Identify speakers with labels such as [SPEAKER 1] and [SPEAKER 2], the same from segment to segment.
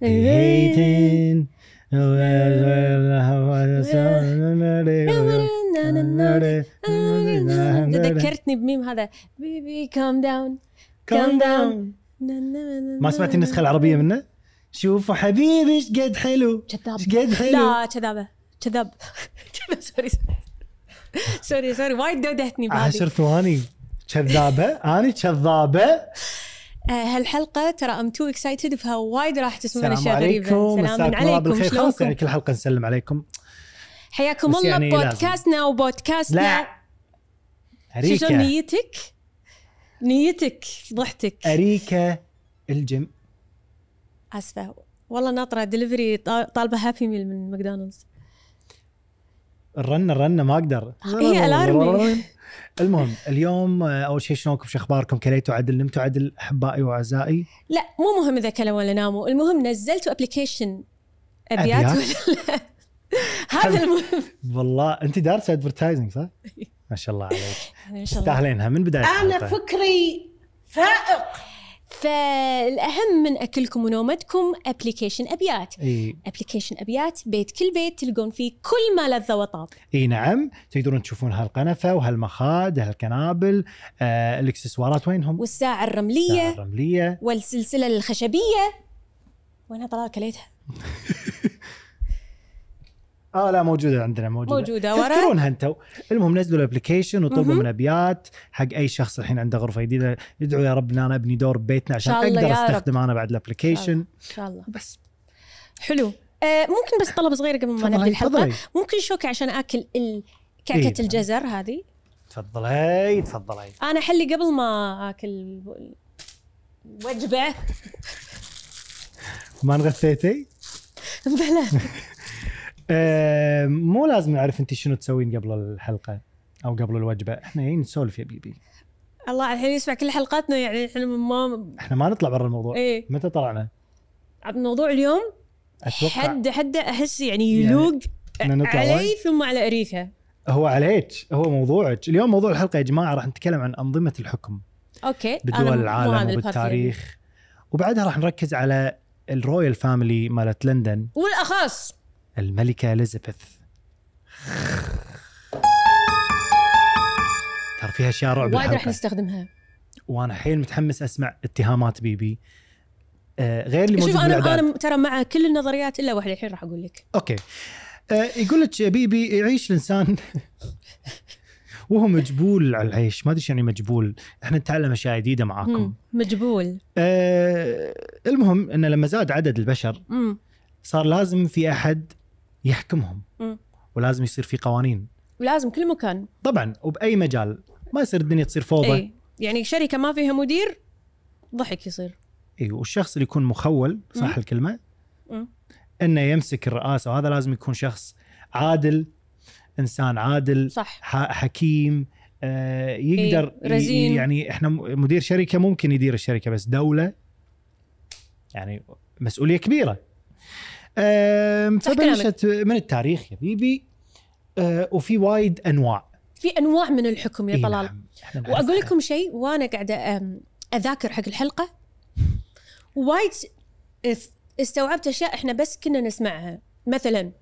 [SPEAKER 1] hating. Oh,
[SPEAKER 2] ذكرتني بميم هذا بيبي كام داون
[SPEAKER 1] كام داون ما سمعت النسخه العربيه منه؟ شوفوا حبيبي ايش قد حلو
[SPEAKER 2] كذاب
[SPEAKER 1] ايش قد حلو
[SPEAKER 2] لا كذابه كذاب كذاب سوري سوري سوري وايد
[SPEAKER 1] آه،
[SPEAKER 2] دودتني بهذه
[SPEAKER 1] عشر ثواني كذابه انا كذابه
[SPEAKER 2] آه، هالحلقه ترى ام تو اكسايتد فيها وايد راح تسمعون
[SPEAKER 1] السلام
[SPEAKER 2] اشياء غريبه
[SPEAKER 1] عليكم
[SPEAKER 2] سلام
[SPEAKER 1] مساكم الله
[SPEAKER 2] عليكم
[SPEAKER 1] بالخير خلاص يعني
[SPEAKER 2] شلونكم
[SPEAKER 1] كل حلقه نسلم عليكم
[SPEAKER 2] حياكم
[SPEAKER 1] بس
[SPEAKER 2] الله
[SPEAKER 1] يعني لازم.
[SPEAKER 2] بودكاستنا
[SPEAKER 1] لا
[SPEAKER 2] وبودكاستنا شو شلون
[SPEAKER 1] اريكا
[SPEAKER 2] نيتك نيتك ضحتك
[SPEAKER 1] آه، اريكا الجيم
[SPEAKER 2] اسفه والله ناطره دليفري طالبه هابي ميل من ماكدونالدز
[SPEAKER 1] الرنه الرنه ما اقدر
[SPEAKER 2] هي الارمي
[SPEAKER 1] المهم اليوم آه، اول شيء شلونكم شو اخباركم كليتوا عدل نمتوا عدل احبائي واعزائي
[SPEAKER 2] لا مو مهم اذا كلوا ولا ناموا المهم نزلتوا ابلكيشن ابيات
[SPEAKER 1] أبيات؟
[SPEAKER 2] ولا لا هذا المهم
[SPEAKER 1] والله انت دارسه ادفرتايزنج صح؟ ما شاء الله عليك
[SPEAKER 2] ان شاء الله
[SPEAKER 1] تستاهلينها من بدايه
[SPEAKER 3] أنا
[SPEAKER 1] الحلقة.
[SPEAKER 3] فكري فائق
[SPEAKER 2] فالاهم من اكلكم ونومتكم ابلكيشن ابيات
[SPEAKER 1] اي
[SPEAKER 2] ابلكيشن ابيات بيت كل بيت تلقون فيه كل ما لذ وطاب
[SPEAKER 1] اي نعم تقدرون تشوفون هالقنفه وهالمخاد هالكنابل آه الاكسسوارات وينهم؟
[SPEAKER 2] والساعه
[SPEAKER 1] الساعة
[SPEAKER 2] الرمليه
[SPEAKER 1] الرمليه
[SPEAKER 2] والسلسله الخشبيه وينها طلال كليتها
[SPEAKER 1] اه لا موجوده عندنا موجوده
[SPEAKER 2] موجوده ورا
[SPEAKER 1] تذكرونها انتم المهم نزلوا الابلكيشن وطلبوا
[SPEAKER 2] مهم.
[SPEAKER 1] من ابيات حق اي شخص الحين عنده غرفه جديده يدعو يا رب ان انا ابني دور ببيتنا عشان
[SPEAKER 2] شاء الله
[SPEAKER 1] اقدر
[SPEAKER 2] يا رب.
[SPEAKER 1] استخدم انا بعد
[SPEAKER 2] إن
[SPEAKER 1] الابلكيشن
[SPEAKER 2] ان شاء الله
[SPEAKER 1] بس
[SPEAKER 2] حلو آه ممكن بس طلب صغير قبل ما نبدا
[SPEAKER 1] تفضلي
[SPEAKER 2] الحلقه
[SPEAKER 1] تفضلي
[SPEAKER 2] ممكن شوكه عشان اكل ال-
[SPEAKER 1] إيه.
[SPEAKER 2] كعكه الجزر هذه
[SPEAKER 1] تفضلي تفضلي
[SPEAKER 2] انا حلي قبل ما اكل ال- الوجبه
[SPEAKER 1] ما انغثيتي؟
[SPEAKER 2] بلا
[SPEAKER 1] آه مو لازم نعرف انت شنو تسوين قبل الحلقه او قبل الوجبه احنا جايين نسولف يا بيبي
[SPEAKER 2] الله الحين يسمع كل حلقاتنا يعني احنا ما
[SPEAKER 1] احنا ما نطلع برا الموضوع
[SPEAKER 2] ايه
[SPEAKER 1] متى طلعنا؟
[SPEAKER 2] عاد موضوع اليوم
[SPEAKER 1] اتوقع
[SPEAKER 2] حد حد احس يعني يلوق
[SPEAKER 1] إحنا نطلع
[SPEAKER 2] علي
[SPEAKER 1] وايد.
[SPEAKER 2] ثم على اريكا
[SPEAKER 1] هو عليك هو موضوعك اليوم موضوع الحلقه يا جماعه راح نتكلم عن انظمه الحكم
[SPEAKER 2] اوكي أنا مو
[SPEAKER 1] بدول العالم
[SPEAKER 2] هذا البارت يعني.
[SPEAKER 1] وبالتاريخ وبعدها راح نركز على الرويال فاميلي مالت لندن
[SPEAKER 2] والاخص
[SPEAKER 1] الملكه اليزابيث ترى فيها اشياء رعب
[SPEAKER 2] وايد راح
[SPEAKER 1] الحلقه
[SPEAKER 2] نستخدمها
[SPEAKER 1] وانا حيل متحمس اسمع اتهامات بيبي آه غير اللي موجود
[SPEAKER 2] شوف انا
[SPEAKER 1] بالاعداد
[SPEAKER 2] انا ترى مع كل النظريات الا واحده الحين راح اقول لك
[SPEAKER 1] اوكي آه يقول لك يا بيبي يعيش الانسان وهو مجبول على العيش ما ادري إيش يعني مجبول احنا نتعلم اشياء جديده معاكم
[SPEAKER 2] مم. مجبول
[SPEAKER 1] آه المهم انه لما زاد عدد البشر
[SPEAKER 2] مم.
[SPEAKER 1] صار لازم في احد يحكمهم
[SPEAKER 2] مم.
[SPEAKER 1] ولازم يصير في قوانين
[SPEAKER 2] ولازم كل مكان
[SPEAKER 1] طبعا وباي مجال ما يصير الدنيا تصير فوضى اي
[SPEAKER 2] اي يعني شركه ما فيها مدير ضحك يصير
[SPEAKER 1] أيوه. والشخص اللي يكون مخول صح
[SPEAKER 2] مم.
[SPEAKER 1] الكلمه
[SPEAKER 2] مم.
[SPEAKER 1] انه يمسك الرئاسه وهذا لازم يكون شخص عادل انسان عادل
[SPEAKER 2] صح
[SPEAKER 1] ح- حكيم آه يقدر
[SPEAKER 2] إي، إيه، رزين.
[SPEAKER 1] ي- يعني احنا م- مدير شركه ممكن يدير الشركه بس دوله يعني مسؤوليه كبيره آم،
[SPEAKER 2] صح كلامك.
[SPEAKER 1] فبلشت من التاريخ يا بيبي آه وفي وايد انواع
[SPEAKER 2] في انواع من الحكم
[SPEAKER 1] إي
[SPEAKER 2] يا طلال
[SPEAKER 1] نعم، إحنا نعرف
[SPEAKER 2] واقول لكم شيء وانا قاعده أم، اذاكر حق الحلقه وايد اس- استوعبت اشياء احنا بس كنا نسمعها مثلا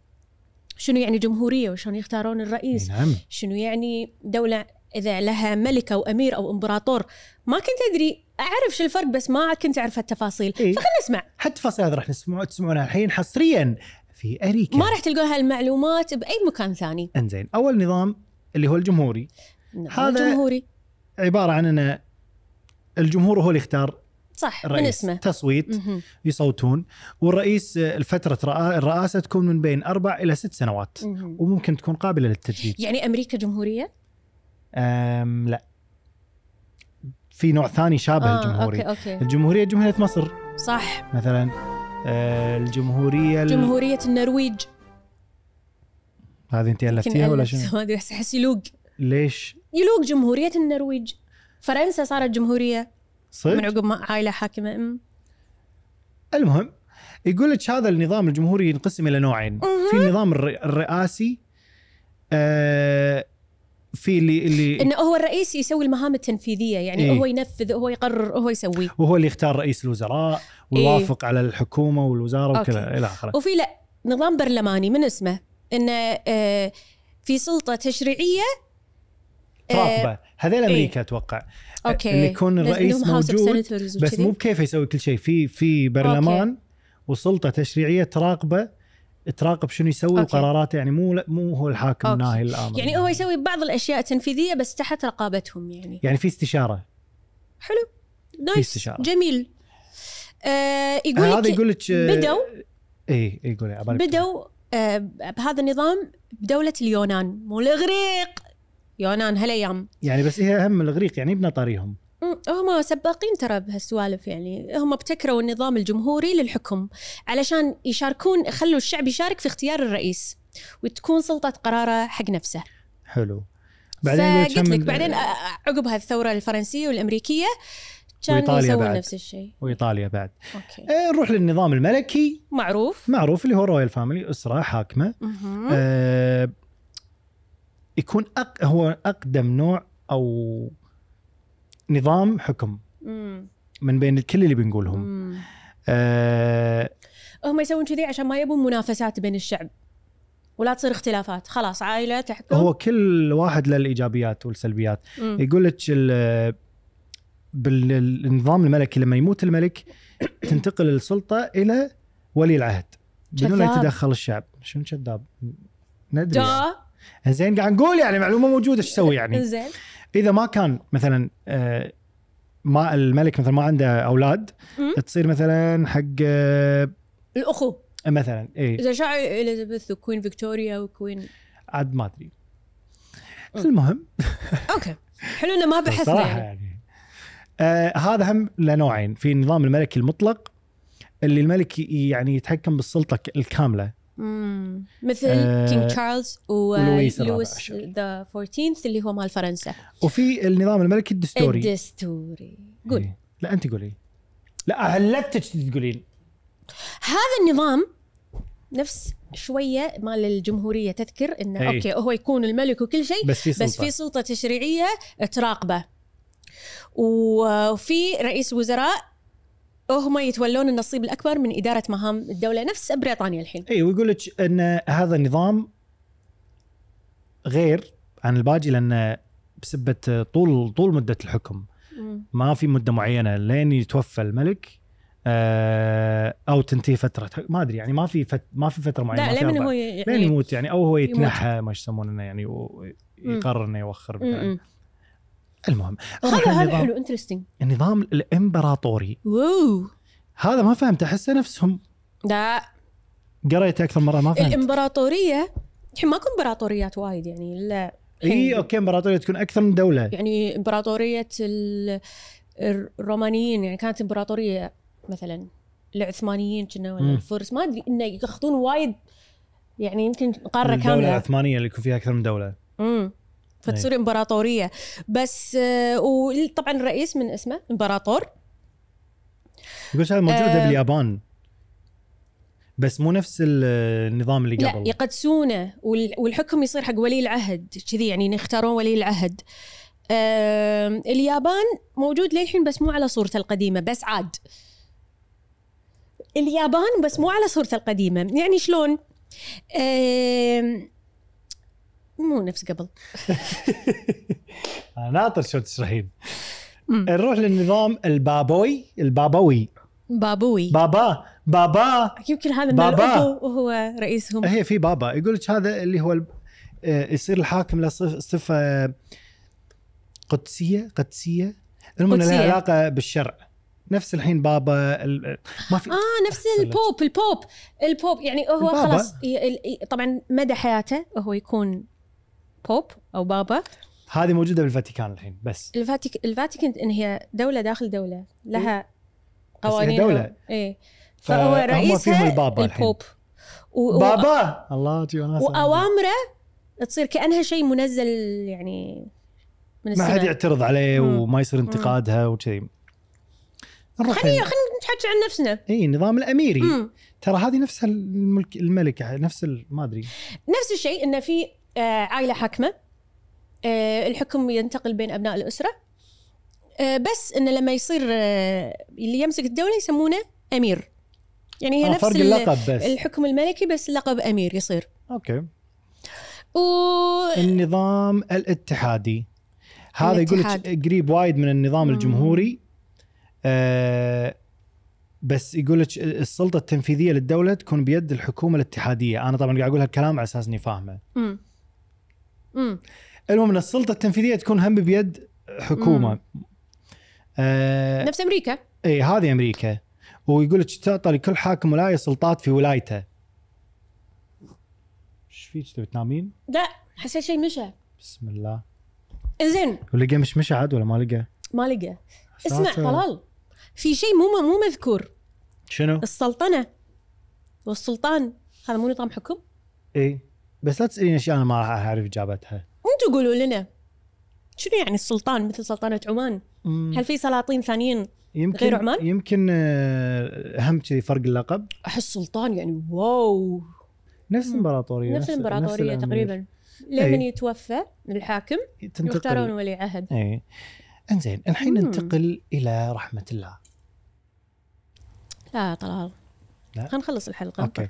[SPEAKER 2] شنو يعني جمهوريه وشلون يختارون
[SPEAKER 1] إي
[SPEAKER 2] الرئيس
[SPEAKER 1] نعم
[SPEAKER 2] شنو يعني دوله اذا لها ملكه وامير او امبراطور ما كنت ادري اعرف شو الفرق بس ما كنت اعرف التفاصيل
[SPEAKER 1] إي.
[SPEAKER 2] فخلنا نسمع
[SPEAKER 1] إيه، حتى فصل هذا راح نسمعه تسمعونها الحين حصريا في اريكا
[SPEAKER 2] ما راح تلقون هالمعلومات باي مكان ثاني نعم،
[SPEAKER 1] انزين اول نظام اللي هو الجمهوري
[SPEAKER 2] هذا
[SPEAKER 1] هذا-
[SPEAKER 2] الجمهوري
[SPEAKER 1] عباره عن ان الجمهور هو اللي يختار
[SPEAKER 2] صح من
[SPEAKER 1] الرئيس
[SPEAKER 2] اسمه
[SPEAKER 1] تصويت
[SPEAKER 2] مهم.
[SPEAKER 1] يصوتون والرئيس آه، الفترة رئا- الرئاسة تكون من بين أربع إلى ست سنوات
[SPEAKER 2] مهم.
[SPEAKER 1] وممكن تكون قابلة للتجديد
[SPEAKER 2] يعني امريكا جمهوريه؟
[SPEAKER 1] أم لا في نوع ثاني شابه آه الجمهوري
[SPEAKER 2] اوكي اوكي
[SPEAKER 1] الجمهورية جمهورية مصر
[SPEAKER 2] صح
[SPEAKER 1] مثلا آه الجمهورية ال-
[SPEAKER 2] جمهورية النرويج
[SPEAKER 1] هذه أنت
[SPEAKER 2] يمكن
[SPEAKER 1] ألفتيها ولا
[SPEAKER 2] ألف-
[SPEAKER 1] شنو
[SPEAKER 2] ما ادري احس احس يلوق
[SPEAKER 1] ليش
[SPEAKER 2] يلوق جمهورية النرويج فرنسا صارت جمهورية من
[SPEAKER 1] صدق
[SPEAKER 2] عقب ما عائلة حاكمة أم.
[SPEAKER 1] المهم يقول لك هذا النظام الجمهوري ينقسم إلى نوعين
[SPEAKER 2] مهم.
[SPEAKER 1] في النظام الر- الرئاسي آه في اللي اللي
[SPEAKER 2] انه هو الرئيس يسوي المهام التنفيذيه يعني
[SPEAKER 1] إيه.
[SPEAKER 2] هو ينفذ هو يقرر هو يسوي
[SPEAKER 1] وهو اللي يختار رئيس الوزراء ويوافق على الحكومه والوزاره
[SPEAKER 2] إيه. أوكي.
[SPEAKER 1] وكذا الى اخره
[SPEAKER 2] وفي لا نظام برلماني من اسمه انه آه، في سلطه تشريعيه آه،
[SPEAKER 1] تراقبه هذيل امريكا اتوقع
[SPEAKER 2] اوكي
[SPEAKER 1] اللي يكون الرئيس
[SPEAKER 2] لهم House of
[SPEAKER 1] موجود،
[SPEAKER 2] Senators
[SPEAKER 1] بس
[SPEAKER 2] وكذي.
[SPEAKER 1] مو بكيف يسوي كل شيء في في برلمان وسلطه تشريعيه تراقبه تراقب شنو يسوي
[SPEAKER 2] أوكي.
[SPEAKER 1] وقراراته يعني مو مو هو الحاكم
[SPEAKER 2] أوكي.
[SPEAKER 1] ناهي الامر
[SPEAKER 2] يعني هو يسوي بعض الاشياء التنفيذيه بس تحت رقابتهم يعني
[SPEAKER 1] يعني في استشاره
[SPEAKER 2] حلو نايس
[SPEAKER 1] استشارة.
[SPEAKER 2] جميل آه يقول
[SPEAKER 1] هذا
[SPEAKER 2] لك
[SPEAKER 1] يقول لك
[SPEAKER 2] بدوا
[SPEAKER 1] اي يقول إيه، عبالك.
[SPEAKER 2] بدوا آه بهذا النظام بدوله اليونان مو الاغريق يونان هالايام
[SPEAKER 1] يعني بس هي هم الاغريق يعني ابن طاريهم
[SPEAKER 2] مم، هم سباقين ترى بهالسوالف يعني هم ابتكروا النظام الجمهوري للحكم علشان يشاركون خلوا الشعب يشارك في اختيار الرئيس وتكون سلطة قراره حق نفسه
[SPEAKER 1] حلو
[SPEAKER 2] فقلت
[SPEAKER 1] يقولك هم
[SPEAKER 2] لك
[SPEAKER 1] ال-
[SPEAKER 2] بعدين آه، آه، عقبها الثوره الفرنسيه والامريكيه كانوا
[SPEAKER 1] وإيطاليا
[SPEAKER 2] يسوون
[SPEAKER 1] بعد.
[SPEAKER 2] نفس الشيء
[SPEAKER 1] وايطاليا بعد
[SPEAKER 2] اوكي
[SPEAKER 1] آه، نروح للنظام الملكي
[SPEAKER 2] معروف
[SPEAKER 1] معروف اللي هو رويال فاميلي اسره حاكمه
[SPEAKER 2] مهم.
[SPEAKER 1] آه يكون أق... هو اقدم نوع او نظام حكم
[SPEAKER 2] مم.
[SPEAKER 1] من بين كل اللي بنقولهم
[SPEAKER 2] مم.
[SPEAKER 1] آه
[SPEAKER 2] هم يسوون كذي عشان ما يبون منافسات بين الشعب ولا تصير اختلافات خلاص عائله تحكم
[SPEAKER 1] هو كل واحد له الايجابيات والسلبيات
[SPEAKER 2] مم.
[SPEAKER 1] يقول لك ال- بالنظام الملكي لما يموت الملك تنتقل السلطه الى ولي العهد بدون لا
[SPEAKER 2] كذاب.
[SPEAKER 1] يتدخل الشعب شنو كذاب ندري يعني.
[SPEAKER 2] دا
[SPEAKER 1] زين قاعد نقول يعني معلومه موجوده ايش تسوي يعني
[SPEAKER 2] زين
[SPEAKER 1] اذا ما كان مثلا آه، ما الملك مثلا ما عنده اولاد
[SPEAKER 2] مم.
[SPEAKER 1] تصير مثلا حق آه، إيه،
[SPEAKER 2] الاخو
[SPEAKER 1] مثلا اي
[SPEAKER 2] اذا شاع اليزابيث وكوين فيكتوريا وكوين
[SPEAKER 1] عاد ما ادري
[SPEAKER 2] مم.
[SPEAKER 1] المهم
[SPEAKER 2] اوكي حلو انه ما بحثنا
[SPEAKER 1] صراحه
[SPEAKER 2] يعني.
[SPEAKER 1] يعني آه هذا هم لنوعين في النظام الملكي المطلق اللي الملك ي- يعني يتحكم بالسلطه ك- الكامله
[SPEAKER 2] مم. مثل
[SPEAKER 1] آه،
[SPEAKER 2] كينج تشارلز
[SPEAKER 1] ولويس الرابع
[SPEAKER 2] ولويس
[SPEAKER 1] عشر.
[SPEAKER 2] ذا 14 اللي هو مال فرنسا
[SPEAKER 1] وفي النظام الملكي الدستوري
[SPEAKER 2] الدستوري إيه، قول
[SPEAKER 1] إيه. لا انت قولي لا هلتك تقولين
[SPEAKER 2] هذا النظام نفس شويه مال الجمهوريه تذكر انه
[SPEAKER 1] إيه.
[SPEAKER 2] اوكي هو يكون الملك وكل شيء
[SPEAKER 1] بس في سلطه
[SPEAKER 2] بس في سلطه تشريعيه تراقبه وفي رئيس وزراء هم يتولون النصيب الاكبر من اداره مهام الدوله نفس بريطانيا الحين
[SPEAKER 1] اي إيه، ويقول لك ان هذا النظام غير عن الباقي لان بسبه طول طول مده الحكم
[SPEAKER 2] مم.
[SPEAKER 1] ما في مده معينه لين يتوفى الملك آه، او تنتهي فتره حك- ما ادري يعني ما في فت ما في فتره معينه
[SPEAKER 2] لا
[SPEAKER 1] ما في
[SPEAKER 2] لمن
[SPEAKER 1] أربع-
[SPEAKER 2] هو
[SPEAKER 1] لين
[SPEAKER 2] يعني
[SPEAKER 1] يموت يعني او هو يتنحى ما يسمونه انه يعني و- يقرر انه يوخر مثلا
[SPEAKER 2] م-م.
[SPEAKER 1] المهم
[SPEAKER 2] هذا هذا
[SPEAKER 1] النظام,
[SPEAKER 2] حلو انترستنج
[SPEAKER 1] النظام الامبراطوري
[SPEAKER 2] واو
[SPEAKER 1] هذا ما فهمت احسه نفسهم
[SPEAKER 2] لا
[SPEAKER 1] قريته اكثر مره ما فهمت
[SPEAKER 2] الامبراطوريه الحين ماكو امبراطوريات وايد يعني الا
[SPEAKER 1] اي اوكي امبراطوريه إيه، تكون اكثر من دوله
[SPEAKER 2] يعني امبراطوريه ال- الرومانيين يعني كانت امبراطوريه مثلا العثمانيين كنا ولا
[SPEAKER 1] مم.
[SPEAKER 2] الفرس ما ادري انه ياخذون وايد يعني يمكن قاره
[SPEAKER 1] الدولة إيه.
[SPEAKER 2] كامله
[SPEAKER 1] العثمانية اللي يكون فيها أكثر من دولة
[SPEAKER 2] امم فتصير امبراطوريه بس آه، وطبعا الرئيس من اسمه امبراطور
[SPEAKER 1] يقول هذا موجودة
[SPEAKER 2] آه.
[SPEAKER 1] باليابان بس مو نفس ال- النظام اللي
[SPEAKER 2] لا
[SPEAKER 1] قبل
[SPEAKER 2] يقدسونه وال- والحكم يصير حق ولي العهد كذي يعني يختارون ولي العهد آم، اليابان موجود للحين بس مو على صورته القديمه بس عاد اليابان بس مو على صورته القديمه يعني شلون آم، مو نفس قبل
[SPEAKER 1] أنا ناطر شو تشرحين
[SPEAKER 2] مم.
[SPEAKER 1] نروح للنظام البابوي البابوي
[SPEAKER 2] بابوي
[SPEAKER 1] بابا بابا
[SPEAKER 2] يمكن هذا من
[SPEAKER 1] بابا.
[SPEAKER 2] الابو وهو رئيسهم
[SPEAKER 1] هي في بابا يقول لك هذا اللي هو الب... آه، يصير الحاكم له صف- صفة قدسية قدسية المهم إنه لها
[SPEAKER 2] قدسية.
[SPEAKER 1] علاقة بالشرع نفس الحين بابا ال... ما في
[SPEAKER 2] اه نفس
[SPEAKER 1] أحسن لك.
[SPEAKER 2] البوب البوب البوب يعني هو
[SPEAKER 1] البابا.
[SPEAKER 2] خلاص ي- ال- ي- طبعا مدى حياته هو يكون بوب او بابا
[SPEAKER 1] هذه موجودة بالفاتيكان الحين بس
[SPEAKER 2] الفاتيك الفاتيكان ان هي دوله داخل دوله لها
[SPEAKER 1] إيه. هي
[SPEAKER 2] قوانين
[SPEAKER 1] دولة.
[SPEAKER 2] ايه
[SPEAKER 1] فهم
[SPEAKER 2] فهو
[SPEAKER 1] فيهم
[SPEAKER 2] رئيسها
[SPEAKER 1] البابا الحين.
[SPEAKER 2] البوب و- و-
[SPEAKER 1] بابا الله تي وناسة.
[SPEAKER 2] واوامره تصير كانها شيء منزل يعني من
[SPEAKER 1] ما حد
[SPEAKER 2] السماء
[SPEAKER 1] يعترض عليه
[SPEAKER 2] مم.
[SPEAKER 1] وما يصير انتقادها وكذي نروح
[SPEAKER 2] خلينا
[SPEAKER 1] لل-
[SPEAKER 2] خلينا نتحكي عن نفسنا
[SPEAKER 1] اي النظام الاميري
[SPEAKER 2] مم.
[SPEAKER 1] ترى هذه نفسها الملك الملكه نفس ال- ما ادري
[SPEAKER 2] نفس الشيء انه في آه، عائله حاكمه آه، الحكم ينتقل بين ابناء الاسره آه، بس انه لما يصير آه، اللي يمسك الدوله يسمونه امير يعني هي
[SPEAKER 1] آه
[SPEAKER 2] نفس
[SPEAKER 1] فرق
[SPEAKER 2] ال-
[SPEAKER 1] اللقب بس
[SPEAKER 2] الحكم الملكي بس لقب امير يصير
[SPEAKER 1] اوكي
[SPEAKER 2] و
[SPEAKER 1] النظام الاتحادي هذا يقول
[SPEAKER 2] الاتحاد.
[SPEAKER 1] لك قريب وايد من النظام
[SPEAKER 2] مم.
[SPEAKER 1] الجمهوري آه بس يقول لك السلطه التنفيذيه للدوله تكون بيد الحكومه الاتحاديه، انا طبعا قاعد اقول هالكلام على اساس اني فاهمه.
[SPEAKER 2] مم. مم.
[SPEAKER 1] المهم ان السلطه التنفيذيه تكون هم بيد حكومه. آه
[SPEAKER 2] نفس امريكا
[SPEAKER 1] اي هذه امريكا ويقول لك تعطى لكل حاكم ولايه سلطات في ولايته. ايش فيك تبي تنامين؟
[SPEAKER 2] لا حسيت شيء مشى
[SPEAKER 1] بسم الله.
[SPEAKER 2] زين
[SPEAKER 1] ولقى مش مشعد ولا ما لقى؟
[SPEAKER 2] ما لقى اسمع
[SPEAKER 1] شاطر.
[SPEAKER 2] طلال في شيء مو مو مذكور
[SPEAKER 1] شنو؟
[SPEAKER 2] السلطنه والسلطان هذا مو نظام حكم
[SPEAKER 1] اي إيه. بس لا تساليني اشياء انا ما راح اعرف اجابتها.
[SPEAKER 2] انتوا قولوا لنا شنو يعني السلطان مثل سلطنه عمان هل في سلاطين ثانيين
[SPEAKER 1] يمكن
[SPEAKER 2] غير عمان؟
[SPEAKER 1] يمكن آه، اهم شيء فرق اللقب
[SPEAKER 2] احس سلطان يعني واو
[SPEAKER 1] نفس
[SPEAKER 2] مم.
[SPEAKER 1] الامبراطوريه
[SPEAKER 2] نفس الامبراطوريه
[SPEAKER 1] الأمير.
[SPEAKER 2] تقريبا لمن
[SPEAKER 1] إي.
[SPEAKER 2] يتوفى الحاكم يختارون
[SPEAKER 1] تنتقل
[SPEAKER 2] ولي عهد
[SPEAKER 1] اي إيه. انزين الحين
[SPEAKER 2] مم.
[SPEAKER 1] ننتقل الى رحمه الله
[SPEAKER 2] لا آه، طلال
[SPEAKER 1] لا؟
[SPEAKER 2] خلينا نخلص الحلقه
[SPEAKER 1] اوكي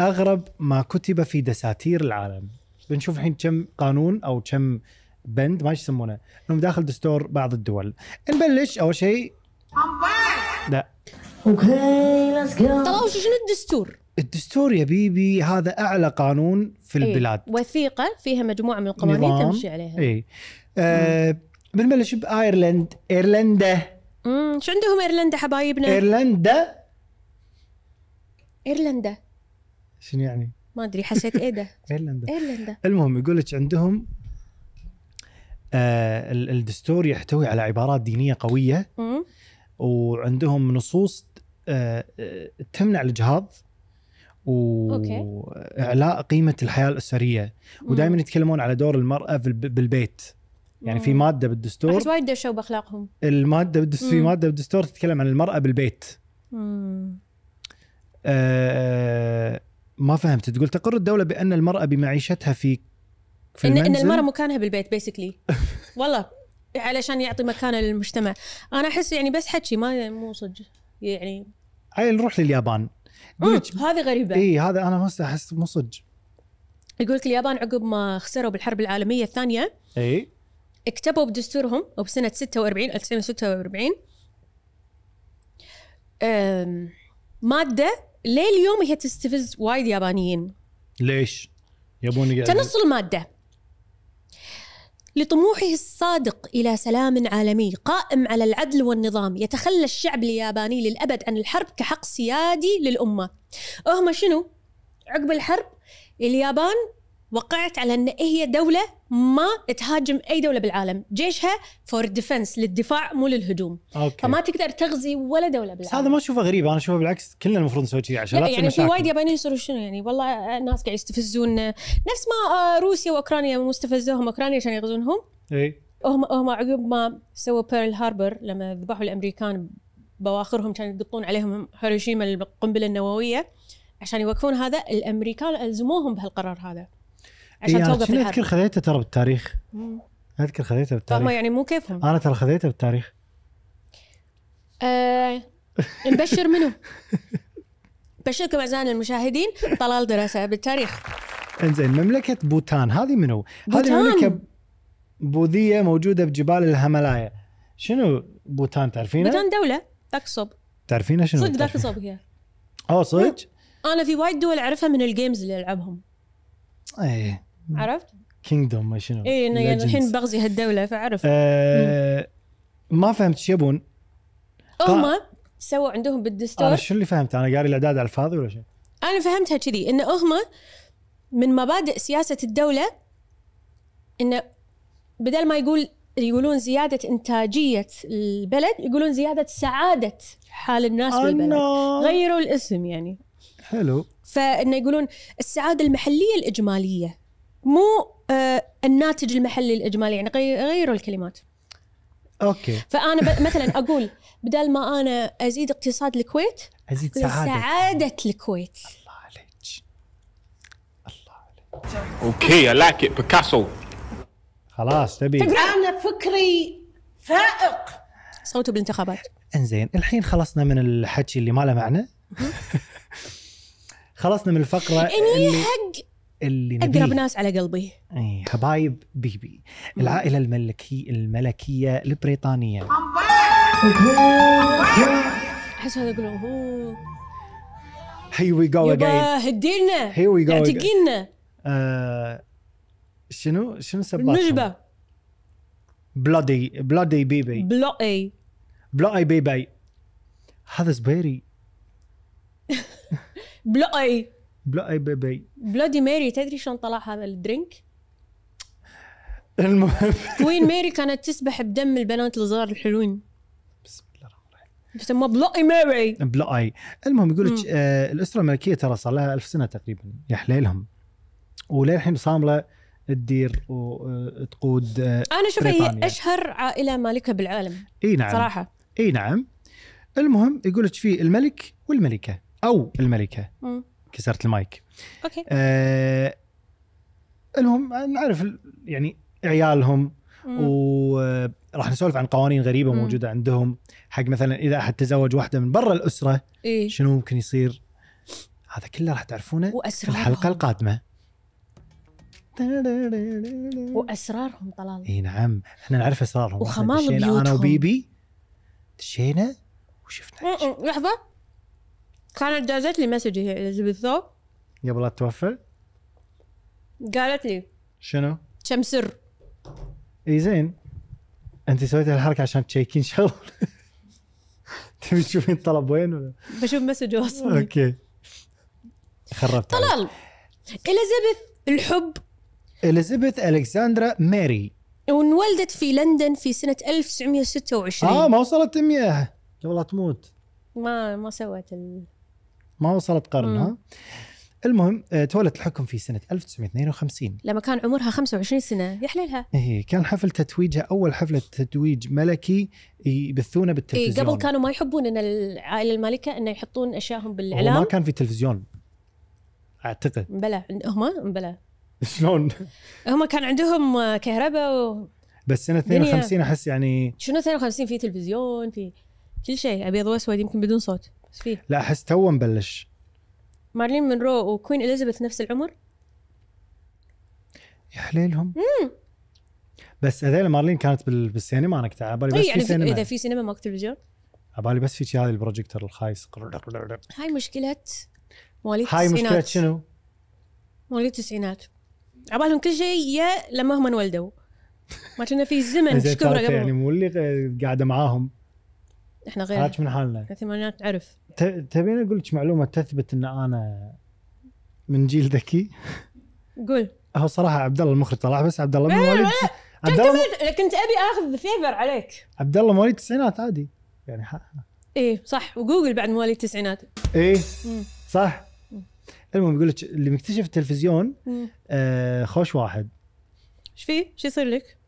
[SPEAKER 1] اغرب ما كتب في دساتير العالم بنشوف الحين كم قانون او كم بند ما إيش يسمونه انهم داخل دستور بعض الدول نبلش اول شيء لا
[SPEAKER 4] Okay, let's go.
[SPEAKER 2] طلال وش- شنو الدستور؟
[SPEAKER 1] الدستور يا بيبي هذا اعلى قانون في
[SPEAKER 2] إي،
[SPEAKER 1] البلاد
[SPEAKER 2] وثيقه إيه، فيها مجموعه من القوانين
[SPEAKER 1] نظام. إيه.
[SPEAKER 2] تمشي عليها
[SPEAKER 1] اي آه بنبلش بايرلند ايرلندا
[SPEAKER 2] امم شو عندهم ايرلندا حبايبنا؟
[SPEAKER 1] ايرلندا
[SPEAKER 2] ايرلندا
[SPEAKER 1] شنو يعني؟
[SPEAKER 2] ما ادري حسيت ايه ده
[SPEAKER 1] ايرلندا
[SPEAKER 2] ايرلندا
[SPEAKER 1] المهم يقول لك عندهم آه ال- الدستور يحتوي على عبارات دينيه قويه
[SPEAKER 2] امم
[SPEAKER 1] وعندهم نصوص آه آه، تمنع الاجهاض
[SPEAKER 2] أوكي.
[SPEAKER 1] واعلاء قيمه الحياه الاسريه ودائما يتكلمون على دور المراه في الب- بالبيت يعني في
[SPEAKER 2] مم.
[SPEAKER 1] ماده بالدستور
[SPEAKER 2] احس وايد دشوا باخلاقهم
[SPEAKER 1] الماده بالدستور في
[SPEAKER 2] مم.
[SPEAKER 1] ماده بالدستور تتكلم عن المراه بالبيت
[SPEAKER 2] امم
[SPEAKER 1] آه، ما فهمت تقول تقر الدولة بأن المرأة بمعيشتها في في
[SPEAKER 2] ان ان
[SPEAKER 1] المنزل
[SPEAKER 2] المراه مكانها بالبيت بيسكلي والله علشان يعطي مكانه للمجتمع انا احس يعني بس حكي ما مو صدق يعني
[SPEAKER 1] هاي نروح لليابان
[SPEAKER 2] مم،
[SPEAKER 1] يقول لك
[SPEAKER 2] هذه غريبه
[SPEAKER 1] اي إيه، هذا انا ما أست- احس مو صدق
[SPEAKER 2] يقول لك اليابان عقب ما خسروا بالحرب العالميه الثانيه
[SPEAKER 1] اي
[SPEAKER 2] اكتبوا بدستورهم وبسنه 46 1946 أم، ماده ليه اليوم هي تستفز وايد يابانيين
[SPEAKER 1] ليش؟ يبون يقعد-
[SPEAKER 2] تنص المادة لطموحه الصادق إلى سلام عالمي قائم على العدل والنظام يتخلى الشعب الياباني للأبد عن الحرب كحق سيادي للأمة أهما شنو؟ عقب الحرب اليابان وقعت على أن هي دولة ما تهاجم أي دولة بالعالم جيشها فور ديفنس للدفاع مو للهجوم
[SPEAKER 1] اوكي
[SPEAKER 2] فما تقدر تغزي ولا دولة
[SPEAKER 1] بس
[SPEAKER 2] بالعالم
[SPEAKER 1] هذا ما اشوفه غريب انا اشوفه بالعكس كلنا المفروض نسوي كذي عشان لا
[SPEAKER 2] لا
[SPEAKER 1] تصير
[SPEAKER 2] يعني في
[SPEAKER 1] مشاكل.
[SPEAKER 2] وايد يابانيين يصيروا شنو يعني والله الناس قاعد يستفزون نفس ما آه، روسيا واوكرانيا مستفزوهم اوكرانيا عشان يغزونهم
[SPEAKER 1] اي
[SPEAKER 2] هم هم عقب ما سووا بيرل هاربر لما ذبحوا الامريكان بواخرهم كانوا يقطون عليهم هيروشيما القنبله النوويه عشان يوقفون هذا الامريكان الزموهم بهالقرار هذا عشان
[SPEAKER 1] إي، أنا
[SPEAKER 2] توقف
[SPEAKER 1] إيه، شنو
[SPEAKER 2] الحرب
[SPEAKER 1] اذكر خذيته ترى بالتاريخ
[SPEAKER 2] مم.
[SPEAKER 1] اذكر خذيته
[SPEAKER 2] فهم
[SPEAKER 1] بالتاريخ
[SPEAKER 2] يعني مو كيفهم
[SPEAKER 1] انا ترى خذيته بالتاريخ
[SPEAKER 2] آه نبشر منو؟ بشركم اعزائنا المشاهدين طلال دراسه بالتاريخ
[SPEAKER 1] انزين مملكة بوتان هذه منو؟ هذه
[SPEAKER 2] بوتان.
[SPEAKER 1] مملكة بوذية موجودة بجبال الهيمالايا شنو بوتان تعرفينها؟
[SPEAKER 2] بوتان دوله ذاك صوب
[SPEAKER 1] تعرفينها شنو؟
[SPEAKER 2] صدق ذاك
[SPEAKER 1] تعرفين-
[SPEAKER 2] صوب هي
[SPEAKER 1] اوه صدق؟
[SPEAKER 2] انا في وايد دول اعرفها من الجيمز اللي العبهم
[SPEAKER 1] ايه
[SPEAKER 2] عرفت؟
[SPEAKER 1] كينجدوم ما شنو؟
[SPEAKER 2] اي انا يعني
[SPEAKER 1] Legends.
[SPEAKER 2] الحين بغزي هالدوله فاعرف
[SPEAKER 1] آه، ما فهمت ايش يبون؟
[SPEAKER 2] هم سووا عندهم
[SPEAKER 1] انا
[SPEAKER 2] بالدستور
[SPEAKER 1] شو اللي فهمت؟ انا قاري الاعداد على الفاضي ولا شيء؟
[SPEAKER 2] انا فهمتها كذي ان هم من مبادئ سياسه الدوله ان بدل ما يقول يقولون زياده انتاجيه البلد يقولون زياده سعاده حال الناس بالبلد
[SPEAKER 1] انا
[SPEAKER 2] غيروا الاسم يعني
[SPEAKER 1] حلو
[SPEAKER 2] فانه يقولون السعاده المحليه الاجماليه مو آه الناتج المحلي الاجمالي يعني غي- غيروا الكلمات
[SPEAKER 1] اوكي
[SPEAKER 2] فانا ب... مثلا اقول بدل ما انا ازيد اقتصاد الكويت
[SPEAKER 1] ازيد
[SPEAKER 2] أقول
[SPEAKER 1] سعاده الله
[SPEAKER 2] سعاده الكويت
[SPEAKER 1] عليك الله عليك
[SPEAKER 5] Okay, I like it, Picasso.
[SPEAKER 1] خلاص تبي
[SPEAKER 3] انا فكري فائق
[SPEAKER 2] صوتوا بالانتخابات
[SPEAKER 1] انزين الحين خلصنا من الحكي اللي ما له معنى خلصنا من الفقره
[SPEAKER 2] اني
[SPEAKER 1] اللي
[SPEAKER 2] حق
[SPEAKER 1] اللي
[SPEAKER 2] اقرب
[SPEAKER 1] نبيه
[SPEAKER 2] ناس على قلبي
[SPEAKER 1] إي، حبايب بيبي العائله الملكي الملكيه البريطانيه
[SPEAKER 2] احس هذا يقولون هو
[SPEAKER 1] هي وي جو اجين
[SPEAKER 2] يبا هدينا
[SPEAKER 1] Here we go again. آه،
[SPEAKER 2] اعتقينا
[SPEAKER 1] شنو شنو سبات
[SPEAKER 2] نجبه
[SPEAKER 1] بلادي بلادي بيبي
[SPEAKER 2] بلو اي
[SPEAKER 1] بلادي بيبي هذا زبيري
[SPEAKER 2] بلو اي
[SPEAKER 1] بلادي بيبي
[SPEAKER 2] بلودي ماري تدري شلون طلع هذا الدرينك؟
[SPEAKER 1] المهم
[SPEAKER 2] كوين ماري كانت تسبح بدم البنات الصغار الحلوين
[SPEAKER 1] بسم الله الرحمن الرحيم
[SPEAKER 2] يسموها بلو اي
[SPEAKER 1] أه،
[SPEAKER 2] ماري
[SPEAKER 1] بلادي المهم يقول لك آه الاسره الملكيه ترى صار لها 1000 سنه تقريبا يا حليلهم وللحين صامله تدير وتقود آه
[SPEAKER 2] انا اشوفها
[SPEAKER 1] بريطانيا.
[SPEAKER 2] هي اشهر عائله مالكه بالعالم
[SPEAKER 1] اي نعم
[SPEAKER 2] صراحه
[SPEAKER 1] اي نعم المهم يقول لك في الملك والملكه او الملكه
[SPEAKER 2] مم.
[SPEAKER 1] كسرت المايك
[SPEAKER 2] اوكي
[SPEAKER 1] آه المهم نعرف ال- يعني عيالهم
[SPEAKER 2] مم.
[SPEAKER 1] وراح نسولف عن قوانين غريبه
[SPEAKER 2] مم.
[SPEAKER 1] موجوده عندهم حق مثلا اذا احد تزوج واحده من برا الاسره
[SPEAKER 2] ايه
[SPEAKER 1] شنو ممكن يصير هذا كله راح تعرفونه في
[SPEAKER 2] واسرارهم
[SPEAKER 1] الحلقه القادمه
[SPEAKER 2] واسرارهم طلال
[SPEAKER 1] اي نعم احنا نعرف اسرارهم إحنا
[SPEAKER 2] وخمال
[SPEAKER 1] دشينا انا
[SPEAKER 2] بيوتهم.
[SPEAKER 1] وبيبي دشينا وشفنا
[SPEAKER 2] مم. لحظه كانت دازت لي مسج هي اليزابيث ثوب
[SPEAKER 1] قبل لا توفى
[SPEAKER 2] قالت لي
[SPEAKER 1] شنو؟
[SPEAKER 2] كم سر
[SPEAKER 1] اي زين انت سويت الحركه عشان تشيكين شغل تبي تشوفين الطلب وين ولا؟
[SPEAKER 2] بشوف مسج واصل
[SPEAKER 1] اوكي خربت عليك.
[SPEAKER 2] طلال اليزابيث الحب
[SPEAKER 1] اليزابيث الكسندرا ماري
[SPEAKER 2] وانولدت في لندن في سنة 1926
[SPEAKER 1] اه ما وصلت 100 قبل لا تموت
[SPEAKER 2] ما ما سوت ال...
[SPEAKER 1] ما وصلت قرن
[SPEAKER 2] مم.
[SPEAKER 1] ها المهم آه، تولت الحكم في سنه 1952
[SPEAKER 2] لما كان عمرها 25 سنة يا حليلها
[SPEAKER 1] إيه كان حفل تتويجها اول حفله تتويج ملكي يبثونه
[SPEAKER 2] إيه
[SPEAKER 1] بالتلفزيون
[SPEAKER 2] قبل كانوا ما يحبون ان العائلة المالكة انه يحطون اشياءهم
[SPEAKER 1] هو ما
[SPEAKER 2] بالاعلام
[SPEAKER 1] كان في تلفزيون اعتقد
[SPEAKER 2] بلا هم بلا
[SPEAKER 1] شلون
[SPEAKER 2] هم كان عندهم آه، كهرباء و...
[SPEAKER 1] بس سنه
[SPEAKER 2] دنيا.
[SPEAKER 1] 52 احس يعني
[SPEAKER 2] شنو 52 في تلفزيون في كل شيء ابيض واسود يمكن بدون صوت بس فيه
[SPEAKER 1] لا احس تو نبلش
[SPEAKER 2] مارلين مونرو وكوين اليزابيث نفس العمر
[SPEAKER 1] يا حليلهم بس هذيل مارلين كانت بال- بالسينما انا كنت على بالي بس
[SPEAKER 2] إيه
[SPEAKER 1] في
[SPEAKER 2] يعني في اذا
[SPEAKER 1] سينما
[SPEAKER 2] في سينما ماكو تلفزيون
[SPEAKER 1] على بالي بس في شي هذا البروجيكتور الخايس
[SPEAKER 2] هاي مشكلة مواليد
[SPEAKER 1] هاي مشكله
[SPEAKER 2] التسعينات.
[SPEAKER 1] شنو؟
[SPEAKER 2] مواليد التسعينات عبالهم كل شيء يا لما هم انولدوا ما كنا في زمن ايش
[SPEAKER 1] زين
[SPEAKER 2] كبره
[SPEAKER 1] تعرف
[SPEAKER 2] قبل
[SPEAKER 1] يعني مو اللي غ- قاعده معاهم
[SPEAKER 2] احنا غير
[SPEAKER 1] هاك من حالنا
[SPEAKER 2] الثمانينات عرف
[SPEAKER 1] ت- تبين اقول لك معلومه تثبت ان انا من جيل ذكي
[SPEAKER 2] قول
[SPEAKER 1] هو صراحه عبد الله المخرج طلع بس عبد الله من مواليد عبد الله مو-
[SPEAKER 2] كنت ابي اخذ فيفر عليك
[SPEAKER 1] عبد الله مواليد التسعينات عادي يعني ح-
[SPEAKER 2] ايه صح وجوجل بعد مواليد التسعينات
[SPEAKER 1] ايه
[SPEAKER 2] مم.
[SPEAKER 1] صح المهم يقول لك اللي مكتشف التلفزيون
[SPEAKER 2] مم.
[SPEAKER 1] آه خوش واحد
[SPEAKER 2] ايش في؟ شو يصير لك؟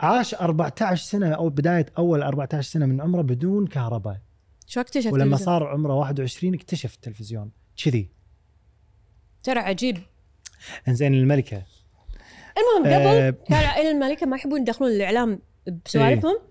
[SPEAKER 1] عاش 14 سنه او بدايه اول 14 سنه من عمره بدون كهرباء
[SPEAKER 2] شو اكتشفت؟
[SPEAKER 1] ولما
[SPEAKER 2] الفيفر؟
[SPEAKER 1] صار عمره 21 اكتشف التلفزيون كذي
[SPEAKER 2] ترى عجيب
[SPEAKER 1] انزين الملكه
[SPEAKER 2] المهم
[SPEAKER 1] آه.
[SPEAKER 2] قبل كان العائله المالكه ما يحبون يدخلون الاعلام بسوالفهم
[SPEAKER 1] إيه.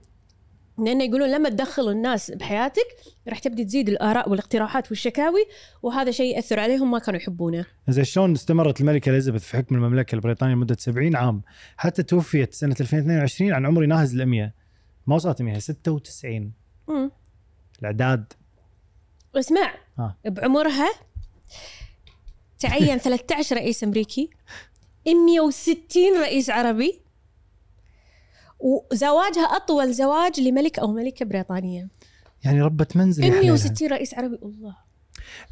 [SPEAKER 2] لانه يقولون لما تدخل الناس بحياتك راح تبدي تزيد الاراء والاقتراحات والشكاوي وهذا شيء ياثر عليهم ما كانوا يحبونه
[SPEAKER 1] زين شلون استمرت الملكه اليزابيث في حكم المملكه البريطانيه لمده 70 عام حتى توفيت سنه 2022 عن عمر ناهز ال 100 ما وصلت 100 96
[SPEAKER 2] مم.
[SPEAKER 1] الاعداد
[SPEAKER 2] اسمع
[SPEAKER 1] ها.
[SPEAKER 2] بعمرها تعين 13 رئيس امريكي 160 رئيس عربي وزواجها اطول زواج لملك او ملكه بريطانيه
[SPEAKER 1] يعني ربة منزل يا حليلها.
[SPEAKER 2] 160 رئيس عربي الله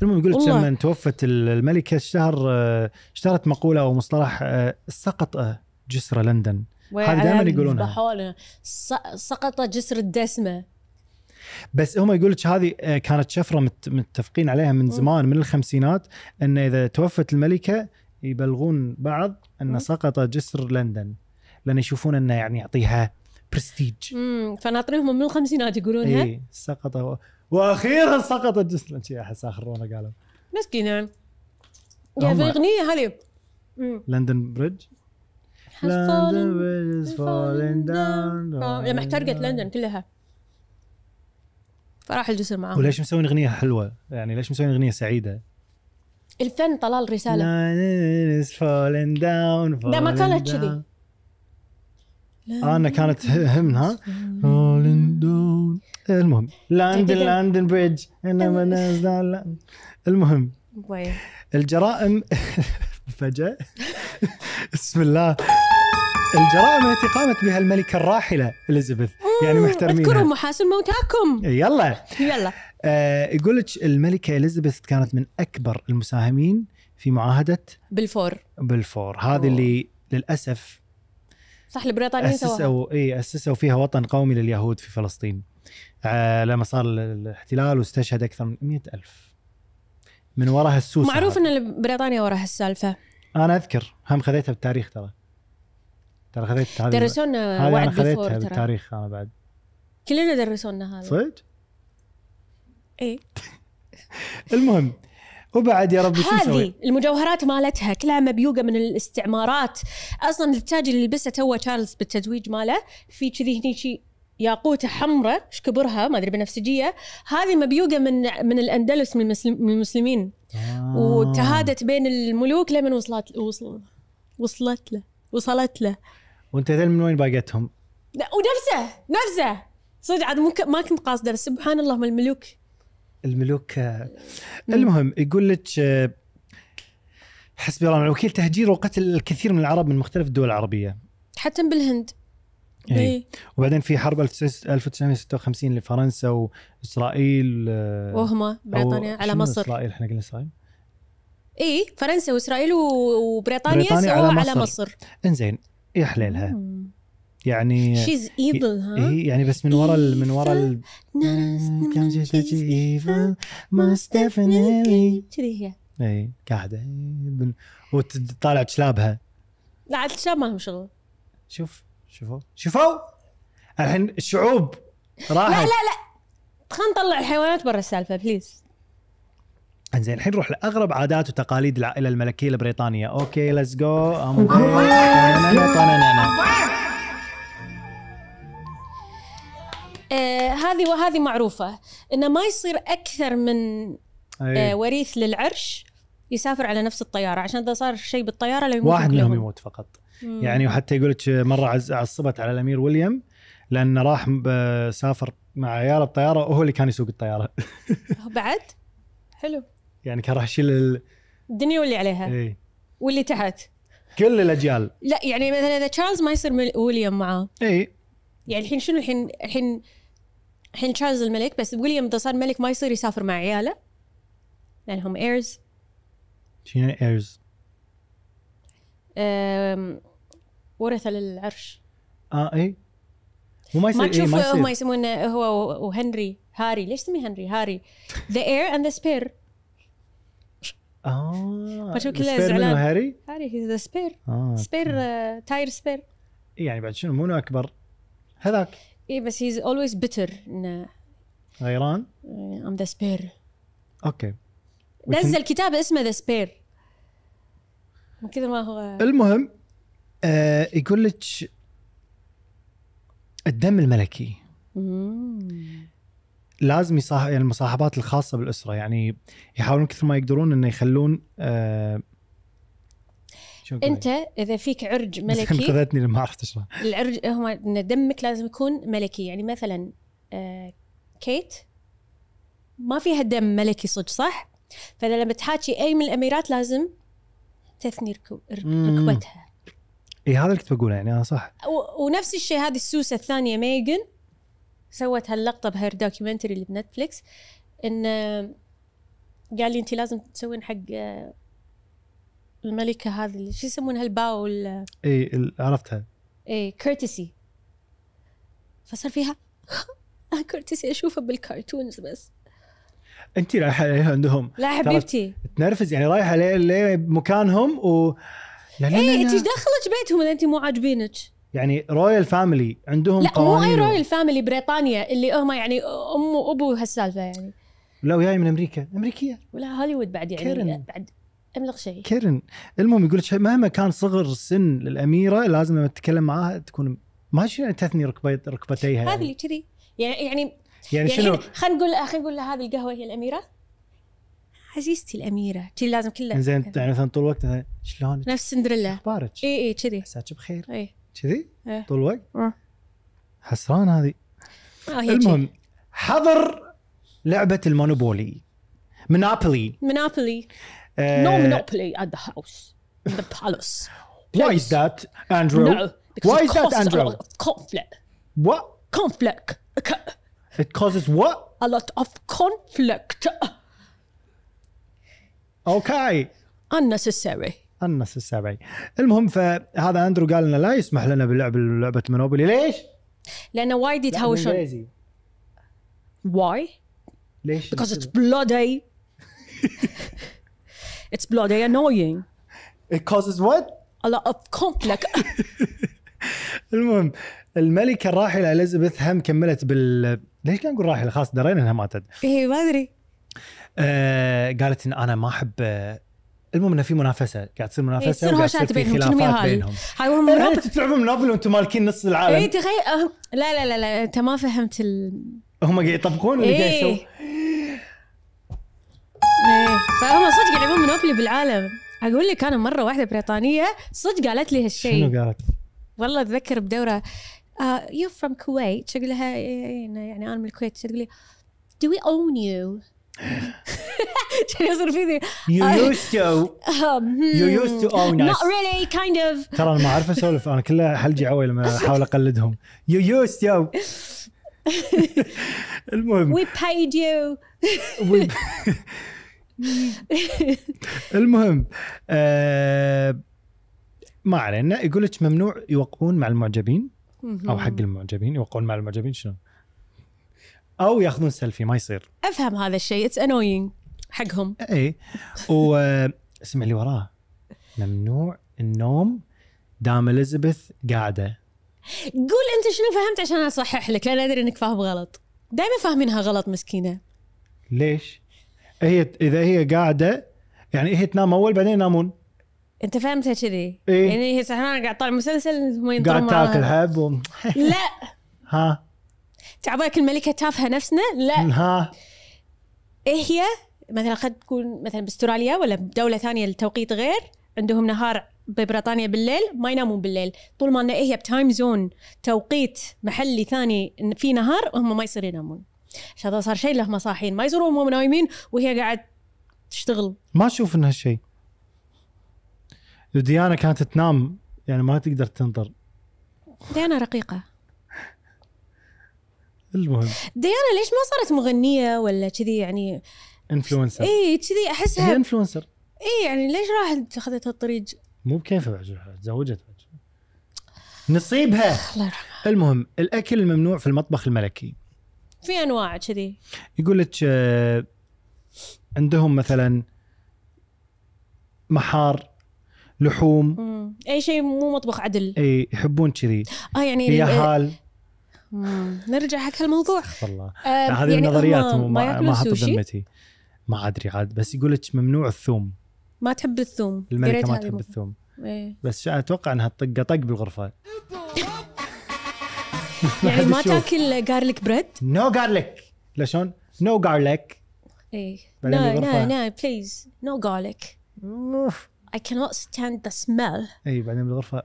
[SPEAKER 1] المهم يقول لك
[SPEAKER 2] والله.
[SPEAKER 1] لما توفت ال- الملكه اشتهر آه، اشتهرت مقوله او مصطلح آه، سقط آه، جسر لندن هذا دايماً يقولونها.
[SPEAKER 2] يقولونها سقط جسر الدسمه
[SPEAKER 1] بس هم يقول لك هذه آه، كانت شفره مت- متفقين عليها من زمان من الخمسينات ان اذا توفت الملكه يبلغون بعض ان
[SPEAKER 2] مم.
[SPEAKER 1] سقط جسر لندن لان يشوفون انه يعني يعطيها برستيج
[SPEAKER 2] امم فناطرينهم من الخمسينات يقولونها
[SPEAKER 1] اي سقط و- واخيرا سقط جسر لندن شي احس اخر مره قالوا
[SPEAKER 2] مسكينه
[SPEAKER 1] هم-
[SPEAKER 2] يا في اغنيه هذه أمم.
[SPEAKER 1] لندن بريدج
[SPEAKER 2] Has fallen.
[SPEAKER 1] London Bridge is falling down.
[SPEAKER 2] آه، لما احترقت لندن كلها فراح الجسر معاهم
[SPEAKER 1] وليش مسوين اغنيه حلوه؟ يعني ليش مسوين اغنيه سعيده؟
[SPEAKER 2] الفن طلال رساله
[SPEAKER 1] Night is falling down
[SPEAKER 2] لا، ما
[SPEAKER 1] falling
[SPEAKER 2] كانت
[SPEAKER 1] down.
[SPEAKER 2] كذي.
[SPEAKER 1] انا كانت همها falling down المهم لندن
[SPEAKER 2] دقيقة.
[SPEAKER 1] لندن بريدج انما نزل- المهم
[SPEAKER 2] وين
[SPEAKER 1] الجرائم فجأة بسم الله الجرائم التي قامت بها الملكة الراحلة اليزابيث يعني
[SPEAKER 2] اذكروا
[SPEAKER 1] محترمين
[SPEAKER 2] محاسن موتاكم
[SPEAKER 1] يلا
[SPEAKER 2] يلا
[SPEAKER 1] آه يقول لك الملكة اليزابيث كانت من أكبر المساهمين في معاهدة
[SPEAKER 2] بالفور
[SPEAKER 1] بلفور هذه
[SPEAKER 2] أوه.
[SPEAKER 1] اللي للأسف
[SPEAKER 2] صح البريطانيين سووها
[SPEAKER 1] أسسوا إيه أسسوا فيها وطن قومي لليهود في فلسطين آه لما صار ال- الاحتلال واستشهد أكثر من مئة ألف من وراها السوسة
[SPEAKER 2] معروف ان بريطانيا وراها السالفه
[SPEAKER 1] انا اذكر هم خذيتها بالتاريخ ترى ترى خذيت هذه
[SPEAKER 2] درسونا
[SPEAKER 1] هذه انا
[SPEAKER 2] وعد بالفور
[SPEAKER 1] خذيتها
[SPEAKER 2] ترى
[SPEAKER 1] بالتاريخ انا بعد
[SPEAKER 2] كلنا درسونا إيه. هذا
[SPEAKER 1] صدق؟
[SPEAKER 2] اي
[SPEAKER 1] المهم وبعد يا ربي شو
[SPEAKER 2] هذه
[SPEAKER 1] نسوي؟
[SPEAKER 2] المجوهرات مالتها كلها مبيوقه من الاستعمارات اصلا التاج اللي لبسه تو تشارلز بالتزويج ماله في كذي هني شي ياقوته حمراء ايش كبرها ما ادري بنفسجيه هذه مبيوقه من من الاندلس من, المسلم من المسلمين
[SPEAKER 1] آه.
[SPEAKER 2] وتهادت بين الملوك لمن وصلت وصل وصلت له وصلت له
[SPEAKER 1] وانت تدري آه. من وين باقتهم؟
[SPEAKER 2] لا، ونفسه نفسه صدق عاد مو ك- ما كنت قاصده بس سبحان الله من الملوك
[SPEAKER 1] الملوك آه، المهم يقول لك آه، حسبي الله ونعم الوكيل تهجير وقتل الكثير من العرب من مختلف الدول العربيه
[SPEAKER 2] حتى بالهند
[SPEAKER 1] إيه.
[SPEAKER 2] إيه.
[SPEAKER 1] وبعدين في حرب 1956 لفرنسا واسرائيل آه،
[SPEAKER 2] وهما
[SPEAKER 1] أو-
[SPEAKER 2] بريطانيا على
[SPEAKER 1] شنو
[SPEAKER 2] مصر
[SPEAKER 1] اسرائيل احنا قلنا اسرائيل
[SPEAKER 2] اي فرنسا واسرائيل و- وبريطانيا
[SPEAKER 1] بريطانيا
[SPEAKER 2] سووها
[SPEAKER 1] على
[SPEAKER 2] على
[SPEAKER 1] مصر.
[SPEAKER 2] مصر
[SPEAKER 1] انزين يا
[SPEAKER 2] آه.
[SPEAKER 1] حليلها إيه يعني
[SPEAKER 2] شيز ايفل ها
[SPEAKER 1] إيه يعني بس من ورا ال- من ورا ال...
[SPEAKER 2] كذي هي
[SPEAKER 1] اي قاعده إيه، بن- وتطالع كلابها
[SPEAKER 2] لا عاد الشباب ما لهم شغل
[SPEAKER 1] شوف شوفوا شوفوا الحين الشعوب راحت
[SPEAKER 2] لا لا خلينا نطلع الحيوانات برا السالفه بليز
[SPEAKER 1] انزين الحين نروح لاغرب عادات وتقاليد العائله الملكيه البريطانيه اوكي ليتس جو
[SPEAKER 2] آه هذه وهذه معروفه انه ما يصير اكثر من آه
[SPEAKER 1] إيه.
[SPEAKER 2] وريث للعرش يسافر على نفس الطياره عشان اذا صار شيء بالطياره لا يموت
[SPEAKER 1] واحد
[SPEAKER 2] كلهم.
[SPEAKER 1] منهم يموت فقط يعني وحتى يقول لك مره عز- عصبت على الامير ويليام لانه راح ب- سافر مع عياله بطياره وهو اللي كان يسوق الطياره
[SPEAKER 2] بعد حلو
[SPEAKER 1] يعني كان راح يشيل ال...
[SPEAKER 2] الدنيا واللي عليها
[SPEAKER 1] إيه.
[SPEAKER 2] واللي تحت
[SPEAKER 1] كل الاجيال
[SPEAKER 2] لا يعني مثلا اذا تشارلز ما يصير مل- ويليام معاه
[SPEAKER 1] اي
[SPEAKER 2] يعني الحين شنو الحين الحين الحين تشارلز الملك بس ويليام اذا صار ملك ما يصير يسافر مع عياله يعني لانهم ايرز
[SPEAKER 1] شنو ايرز
[SPEAKER 2] ورثه للعرش
[SPEAKER 1] اه اي وما يصير
[SPEAKER 2] ما
[SPEAKER 1] إيه،
[SPEAKER 2] تشوف
[SPEAKER 1] ما
[SPEAKER 2] هم
[SPEAKER 1] يصير
[SPEAKER 2] يسمونه هو و- وهنري هاري ليش تسميه هنري هاري ذا اير اند ذا سبير
[SPEAKER 1] اه
[SPEAKER 2] ما تشوف كله
[SPEAKER 1] السبير منو،
[SPEAKER 2] زعلان.
[SPEAKER 1] هاري
[SPEAKER 2] هاري ذا سبير
[SPEAKER 1] اه
[SPEAKER 2] سبير تاير سبير
[SPEAKER 1] يعني بعد شنو منو اكبر هذاك
[SPEAKER 2] اي إيه، بس هيز اولويز بيتر انه
[SPEAKER 1] غيران
[SPEAKER 2] ام ذا سبير
[SPEAKER 1] اوكي We can-
[SPEAKER 2] نزل كتاب اسمه ذا سبير من كثر ما هو
[SPEAKER 1] المهم آه يقول لك الدم الملكي Mm.
[SPEAKER 2] مم.
[SPEAKER 1] لازم يصاحب يعني المصاحبات الخاصه بالاسره يعني يحاولون كثر ما يقدرون انه يخلون آه شو أقول
[SPEAKER 2] انت اذا فيك عرج
[SPEAKER 1] لك؟
[SPEAKER 2] ملكي
[SPEAKER 1] خذتني لما عرفت اشرح
[SPEAKER 2] العرج هو ان دمك لازم يكون ملكي يعني مثلا آه كيت ما فيها دم ملكي صدق صح؟ فاذا لما تحاكي اي من الاميرات لازم تثني ركو-
[SPEAKER 1] مم.
[SPEAKER 2] ركبتها
[SPEAKER 1] اي هذا اللي كنت بقوله يعني انا صح
[SPEAKER 2] و- ونفس الشيء هذه السوسه الثانيه ميغن سوت هاللقطه بهير دوكيومنتري اللي بنتفلكس ان قال لي انت لازم تسوين حق آه، الملكه هذه اللي- شو يسمونها الباو ال-
[SPEAKER 1] اي ال- عرفتها
[SPEAKER 2] ايه كيرتسي فصار فيها كيرتسي اشوفها بالكرتونز بس
[SPEAKER 1] انت رايحه عليه عندهم
[SPEAKER 2] لا حبيبتي
[SPEAKER 1] تنرفز يعني رايحه ليه ليه مكانهم و لا لا,
[SPEAKER 2] ايه
[SPEAKER 1] لا,
[SPEAKER 2] انت ايش
[SPEAKER 1] لا.
[SPEAKER 2] دخلك بيتهم اذا انت مو عاجبينك
[SPEAKER 1] يعني رويال فاميلي عندهم
[SPEAKER 2] لا مو اي
[SPEAKER 1] قوانين و-
[SPEAKER 2] رويال فاميلي بريطانيا اللي هم يعني ام وابو هالسالفه يعني
[SPEAKER 1] لا وياي من امريكا امريكيه
[SPEAKER 2] ولا هوليوود بعد يعني
[SPEAKER 1] كيرن.
[SPEAKER 2] بعد املق شيء
[SPEAKER 1] كيرن المهم يقول لك مهما كان صغر السن للاميره لازم لما تتكلم معاها تكون ما شنو تثني ركبي ركبتيها
[SPEAKER 2] هذه
[SPEAKER 1] يعني,
[SPEAKER 2] اللي كذي يعني يعني
[SPEAKER 1] يعني
[SPEAKER 2] يعني
[SPEAKER 1] شنو
[SPEAKER 2] خلينا خلينا نقول خلينا نقول لها هذه القهوه هي الاميره عزيزتي الاميره كذي لازم كله
[SPEAKER 1] زين يعني مثلا طول الوقت مثلاً، شلونك
[SPEAKER 2] نفس سندريلا
[SPEAKER 1] اخبارك
[SPEAKER 2] اي اي كذي
[SPEAKER 1] عساك بخير
[SPEAKER 2] اي
[SPEAKER 1] كذي
[SPEAKER 2] إيه.
[SPEAKER 1] طول الوقت
[SPEAKER 2] آه.
[SPEAKER 1] حسران هذه
[SPEAKER 2] آه، هي
[SPEAKER 1] المهم حضر لعبه المونوبولي منابولي
[SPEAKER 2] منابولي
[SPEAKER 1] آه،
[SPEAKER 3] No monopoly at the house, in the palace.
[SPEAKER 1] Why is that, Andrew?
[SPEAKER 3] No, because
[SPEAKER 1] Why
[SPEAKER 3] it
[SPEAKER 1] is that,
[SPEAKER 3] causes a
[SPEAKER 1] Andrew?
[SPEAKER 3] lot of conflict.
[SPEAKER 1] What?
[SPEAKER 3] Conflict. C-
[SPEAKER 1] It causes what?
[SPEAKER 3] A lot of conflict.
[SPEAKER 1] Okay.
[SPEAKER 3] Unnecessary.
[SPEAKER 1] النص السبعي. المهم فهذا اندرو قال لنا لا يسمح لنا بلعب لعبه منوبولي ليش؟
[SPEAKER 2] لانه وايد يتهاوشون
[SPEAKER 1] بالإنجليزي.
[SPEAKER 3] Why?
[SPEAKER 1] ليش؟
[SPEAKER 3] Because it's bloody. it's bloody annoying.
[SPEAKER 1] It causes what?
[SPEAKER 3] A lot of conflict.
[SPEAKER 1] المهم الملكه الراحله اليزابيث هم كملت بال ليش لا نقول راحله خلاص درينا انها ماتت.
[SPEAKER 2] اي ما ادري
[SPEAKER 1] آه قالت ان انا ما احب آه، المهم انه في منافسه قاعد تصير منافسه
[SPEAKER 2] إيه، تصير
[SPEAKER 1] وقاعد
[SPEAKER 2] هوشات
[SPEAKER 1] تصير في
[SPEAKER 2] بينهم، شنو
[SPEAKER 1] خلافات
[SPEAKER 2] هاي؟
[SPEAKER 1] بينهم.
[SPEAKER 2] هاي هم
[SPEAKER 1] إيه،
[SPEAKER 2] منابولي
[SPEAKER 1] انتم تلعبون منوبولي وانتم مالكين نص العالم
[SPEAKER 2] اي تخيل أه، لا لا لا لا انت ما فهمت ال
[SPEAKER 1] هم قاعد يطبقون اللي قاعد
[SPEAKER 2] ايه
[SPEAKER 1] يسوون
[SPEAKER 2] إيه. فهم صدق يلعبون منوبلي بالعالم اقول لك انا مره واحده بريطانيه صدق قالت لي هالشيء
[SPEAKER 1] شنو قالت؟
[SPEAKER 2] والله "Uh, اتذكر بدوره يو فروم كويت اقول لها إيه، إيه، إنه يعني انا من الكويت تقول لي Do we own you؟ كان يصير فيني
[SPEAKER 1] يو
[SPEAKER 2] آه.
[SPEAKER 1] يوز تو
[SPEAKER 2] um,
[SPEAKER 1] You used to own
[SPEAKER 2] not
[SPEAKER 1] us.
[SPEAKER 2] really kind of
[SPEAKER 1] ترى انا ما اعرف اسولف انا كلها حلجي عوي لما احاول اقلدهم يو يوس يو المهم
[SPEAKER 2] we paid you
[SPEAKER 1] المهم آه ما علينا يقول لك ممنوع يوقعون مع المعجبين او حق المعجبين يوقعون مع المعجبين شنو؟ او ياخذون سيلفي ما يصير
[SPEAKER 2] افهم هذا الشيء اتس انوينج حقهم
[SPEAKER 1] اي واسمع اللي وراه ممنوع النوم دام اليزابيث قاعده
[SPEAKER 2] قول انت شنو فهمت عشان اصحح لك لان ادري انك فاهم غلط دائما فاهمينها غلط مسكينه
[SPEAKER 1] ليش؟ هي اذا هي قاعده يعني هي تنام اول بعدين ينامون
[SPEAKER 2] انت فهمتها كذي
[SPEAKER 1] إيه.
[SPEAKER 2] يعني هي سهرانه قاعد طالع مسلسل هم
[SPEAKER 1] قاعد
[SPEAKER 2] ينطرون
[SPEAKER 1] تاكل
[SPEAKER 2] معاها
[SPEAKER 1] حب و...
[SPEAKER 2] لا
[SPEAKER 1] ها
[SPEAKER 2] تعبالك الملكه تافهه نفسنا لا
[SPEAKER 1] ها
[SPEAKER 2] ايه هي مثلا قد تكون مثلا باستراليا ولا بدوله ثانيه التوقيت غير عندهم نهار ببريطانيا بالليل ما ينامون بالليل طول ما ان إيه هي بتايم زون توقيت محلي ثاني إن في نهار هم ما يصير ينامون عشان هذا صار شيء لهم صاحيين ما يصيرون هم نايمين وهي قاعد تشتغل
[SPEAKER 1] ما اشوف انها شيء ديانا كانت تنام يعني ما تقدر تنطر
[SPEAKER 2] ديانا رقيقه
[SPEAKER 1] المهم
[SPEAKER 2] ديانا ليش ما صارت مغنيه ولا كذي يعني
[SPEAKER 1] انفلونسر
[SPEAKER 2] اي كذي
[SPEAKER 1] هي
[SPEAKER 2] احسها
[SPEAKER 1] انفلونسر
[SPEAKER 2] اي يعني ليش راحت اخذت هالطريق
[SPEAKER 1] مو بكيفها بعد تزوجت بعد. نصيبها
[SPEAKER 2] الله يرحمه
[SPEAKER 1] المهم الاكل الممنوع في المطبخ الملكي
[SPEAKER 2] في انواع كذي
[SPEAKER 1] يقول لك آه، عندهم مثلا محار لحوم
[SPEAKER 2] أمم. اي شيء مو مطبخ عدل
[SPEAKER 1] اي يحبون كذي
[SPEAKER 2] اه يعني
[SPEAKER 1] يا
[SPEAKER 2] ال-
[SPEAKER 1] حال
[SPEAKER 2] أمم. نرجع حق هالموضوع
[SPEAKER 1] والله
[SPEAKER 2] آه،
[SPEAKER 1] لا، هذه
[SPEAKER 2] يعني
[SPEAKER 1] النظريات
[SPEAKER 2] هم
[SPEAKER 1] مو-
[SPEAKER 2] ما
[SPEAKER 1] ما
[SPEAKER 2] ياكلون
[SPEAKER 1] ما حط
[SPEAKER 2] سوشي
[SPEAKER 1] ذمتي ما ادري عاد بس يقول لك ممنوع الثوم
[SPEAKER 2] ما تحب الثوم قريت
[SPEAKER 1] الملكه ما
[SPEAKER 2] هذه
[SPEAKER 1] تحب
[SPEAKER 2] مرة.
[SPEAKER 1] الثوم
[SPEAKER 2] إيه.
[SPEAKER 1] بس شا- اتوقع انها تطق طق بالغرفه
[SPEAKER 2] يعني ما
[SPEAKER 1] حد يشوف.
[SPEAKER 2] تاكل جارليك بريد
[SPEAKER 1] نو جارليك لا شلون؟ نو جارليك
[SPEAKER 2] اي
[SPEAKER 1] بعدين
[SPEAKER 2] لا
[SPEAKER 1] بالغرفة.
[SPEAKER 2] لا لا بليز نو جارليك I cannot stand the smell
[SPEAKER 1] اي بعدين بالغرفه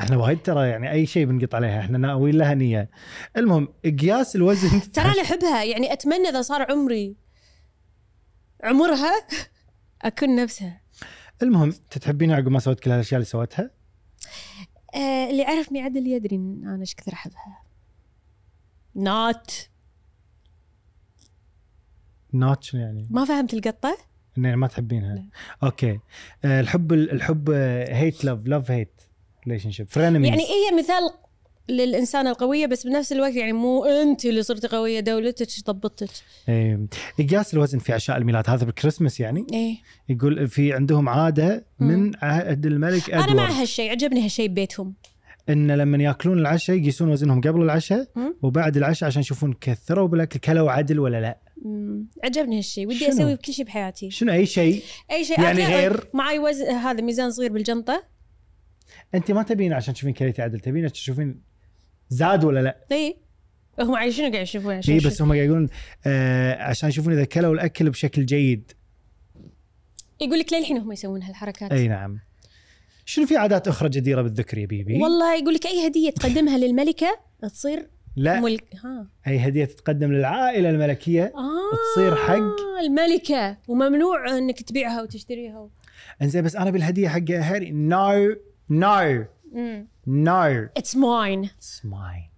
[SPEAKER 1] احنا وايد ترى يعني اي شيء بنقط عليها احنا ناويين لها نيه المهم قياس الوزن
[SPEAKER 2] ترى انا احبها يعني اتمنى اذا صار عمري عمرها اكون نفسها
[SPEAKER 1] المهم انت تحبينها عقب ما سويت كل هالاشياء اللي سوتها
[SPEAKER 2] آه اللي عرفني عدل يدري إن انا ايش كثر احبها نات
[SPEAKER 1] ناتش يعني
[SPEAKER 2] ما فهمت القطه
[SPEAKER 1] اني ما تحبينها
[SPEAKER 2] لا.
[SPEAKER 1] اوكي آه، الحب الحب آه، هيت لاف لاف هيت ريليشن شيب فرينميز
[SPEAKER 2] يعني هي مثال للإنسانة القوية بس بنفس الوقت يعني مو أنت اللي صرتي قوية دولتك ضبطتك
[SPEAKER 1] إيه. قياس الوزن في عشاء الميلاد هذا بالكريسماس يعني
[SPEAKER 2] إيه
[SPEAKER 1] يقول في عندهم عاده من عهد الملك
[SPEAKER 2] أنا مع
[SPEAKER 1] ادوارد
[SPEAKER 2] هالشيء عجبني هالشيء ببيتهم
[SPEAKER 1] ان لما ياكلون العشاء يقيسون وزنهم قبل العشاء
[SPEAKER 2] مم.
[SPEAKER 1] وبعد العشاء عشان يشوفون كثروا بالاكل كلوا عدل ولا لا
[SPEAKER 2] أمم، عجبني هالشيء ودي
[SPEAKER 1] شنو؟
[SPEAKER 2] أسوي بكل شيء بحياتي
[SPEAKER 1] شنو اي شيء
[SPEAKER 2] أي شيء
[SPEAKER 1] يعني
[SPEAKER 2] أكله-
[SPEAKER 1] غير؟
[SPEAKER 2] معي وزن هذا ميزان صغير بالجنطة
[SPEAKER 1] انت ما تبين عشان تشوفين كريتي عدل تبين عشان تشوفين زاد ولا لا
[SPEAKER 2] اي إيه. هم عايشين شنو قاعد يشوفون عشان
[SPEAKER 1] اي
[SPEAKER 2] شو-
[SPEAKER 1] إيه، بس هم قاعد يقولون آه عشان يشوفون اذا كلوا الاكل بشكل جيد
[SPEAKER 2] يقول لك للحين هم يسوون هالحركات
[SPEAKER 1] اي نعم شنو في عادات اخرى جديره بالذكر يا بيبي؟
[SPEAKER 2] والله يقول لك اي هديه تقدمها للملكه تصير
[SPEAKER 1] لا
[SPEAKER 2] ملك ها
[SPEAKER 1] اي هديه تتقدم للعائله الملكيه
[SPEAKER 2] آه
[SPEAKER 1] تصير حق؟
[SPEAKER 2] الملكه آه، وممنوع انك تبيعها وتشتريها
[SPEAKER 1] انزين بس انا بالهديه حق هاري نو نو نو
[SPEAKER 2] اتس ماين
[SPEAKER 1] اتس ماين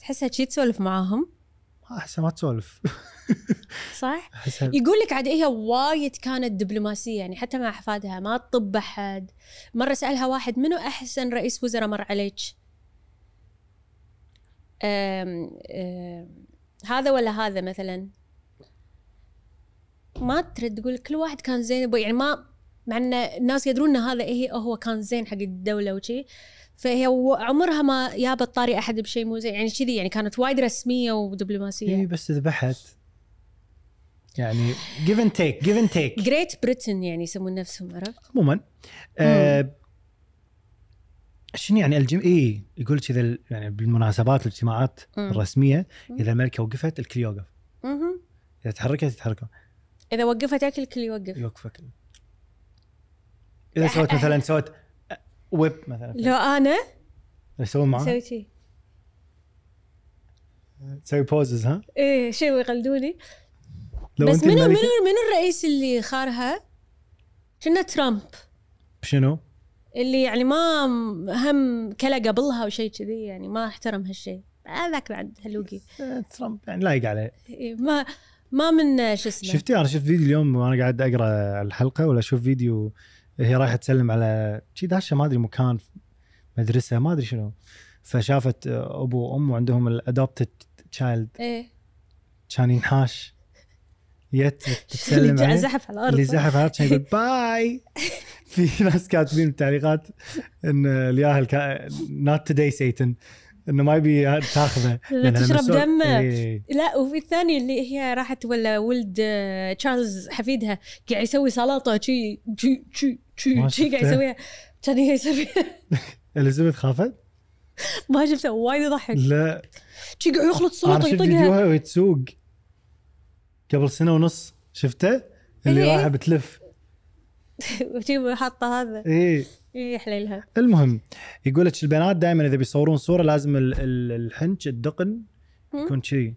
[SPEAKER 2] تحسها شي تسولف معاهم
[SPEAKER 1] احسن ما تسولف
[SPEAKER 2] صح؟
[SPEAKER 1] احسها
[SPEAKER 2] يقول لك عاد إيه، هي وايد كانت دبلوماسيه يعني حتى مع احفادها ما تطب احد مره سالها واحد منو احسن رئيس وزراء مر عليك أم أم هذا ولا هذا مثلا ما ترد تقول كل واحد كان زين يعني ما مع ان الناس يدرون ان هذا ايه هو كان زين حق الدوله وشي فهي و- عمرها ما جابت طاري احد بشيء مو زين يعني كذي يعني كانت وايد رسميه ودبلوماسيه
[SPEAKER 1] اي إيه، بس ذبحت يعني جيف اند تيك جيف اند تيك
[SPEAKER 2] جريت بريتن يعني يسمون نفسهم عرفت؟
[SPEAKER 1] عموما آه شنو يعني الجم اي يقول كذا ال- يعني بالمناسبات الاجتماعات
[SPEAKER 2] مم.
[SPEAKER 1] الرسميه
[SPEAKER 2] مم.
[SPEAKER 1] اذا الملكه وقفت الكل يوقف
[SPEAKER 2] مهم.
[SPEAKER 1] اذا تحركت يتحركون
[SPEAKER 2] اذا وقفت اكل الكل يوقف
[SPEAKER 1] يوقف الكل اذا سوت مثلا سوت آه، ويب مثلا
[SPEAKER 2] لو انا
[SPEAKER 1] يسوون معاه
[SPEAKER 2] اسوي شي
[SPEAKER 1] تسوي بوزز ها
[SPEAKER 2] ايه شي ويقلدوني
[SPEAKER 1] لو
[SPEAKER 2] بس
[SPEAKER 1] انت
[SPEAKER 2] منو منو
[SPEAKER 1] الملكه
[SPEAKER 2] منو الرئيس اللي خارها؟ كنا ترامب
[SPEAKER 1] شنو؟
[SPEAKER 2] اللي يعني ما هم كلا قبلها وشي كذي يعني ما احترم هالشيء هذاك بعد هلوقي
[SPEAKER 1] آه، ترامب يعني لايق عليه
[SPEAKER 2] إيه، ما ما من شو اسمه
[SPEAKER 1] شفتي انا شفت فيديو اليوم وانا قاعد اقرا الحلقه ولا اشوف فيديو هي رايحه تسلم على شي داشه ما ادري مكان في مدرسه ما ادري شنو فشافت آه، ابو وام وعندهم الادوبتد تشايلد
[SPEAKER 2] ايه
[SPEAKER 1] كان ينحاش جت
[SPEAKER 2] اللي
[SPEAKER 1] تسلم
[SPEAKER 2] جا-
[SPEAKER 1] عليه
[SPEAKER 2] زحف على
[SPEAKER 1] اللي
[SPEAKER 2] الارض صح؟
[SPEAKER 1] زحف هذا كان يقول باي في ناس كاتبين بالتعليقات ان الياهل نوت توداي سيتن انه ما يبي تاخذه
[SPEAKER 2] لأنها تشرب
[SPEAKER 1] مسؤول-
[SPEAKER 2] دمه.
[SPEAKER 1] إيه.
[SPEAKER 2] لا وفي الثانية اللي هي راحت ولا ولد آه، تشارلز حفيدها قاعد يسوي سلطة شي شي شي
[SPEAKER 1] ما
[SPEAKER 2] شي شي قاعد
[SPEAKER 1] شفته.
[SPEAKER 2] يسويها كان هي يسوي
[SPEAKER 1] اليزابيث خافت؟
[SPEAKER 2] ما شفته وايد يضحك
[SPEAKER 1] لا
[SPEAKER 2] شي قاعد يخلط
[SPEAKER 1] انا
[SPEAKER 2] سلطة
[SPEAKER 1] شفت
[SPEAKER 2] يطقها
[SPEAKER 1] فيديوها وهي تسوق قبل سنه ونص شفته؟ اللي
[SPEAKER 2] إيه.
[SPEAKER 1] رايحه بتلف
[SPEAKER 2] وشي حاطة هذا
[SPEAKER 1] ايه
[SPEAKER 2] إيه، يحلى لها
[SPEAKER 1] المهم يقول لك البنات دائما اذا بيصورون صوره لازم ال- ال- الحنج الدقن
[SPEAKER 2] مم.
[SPEAKER 1] يكون شي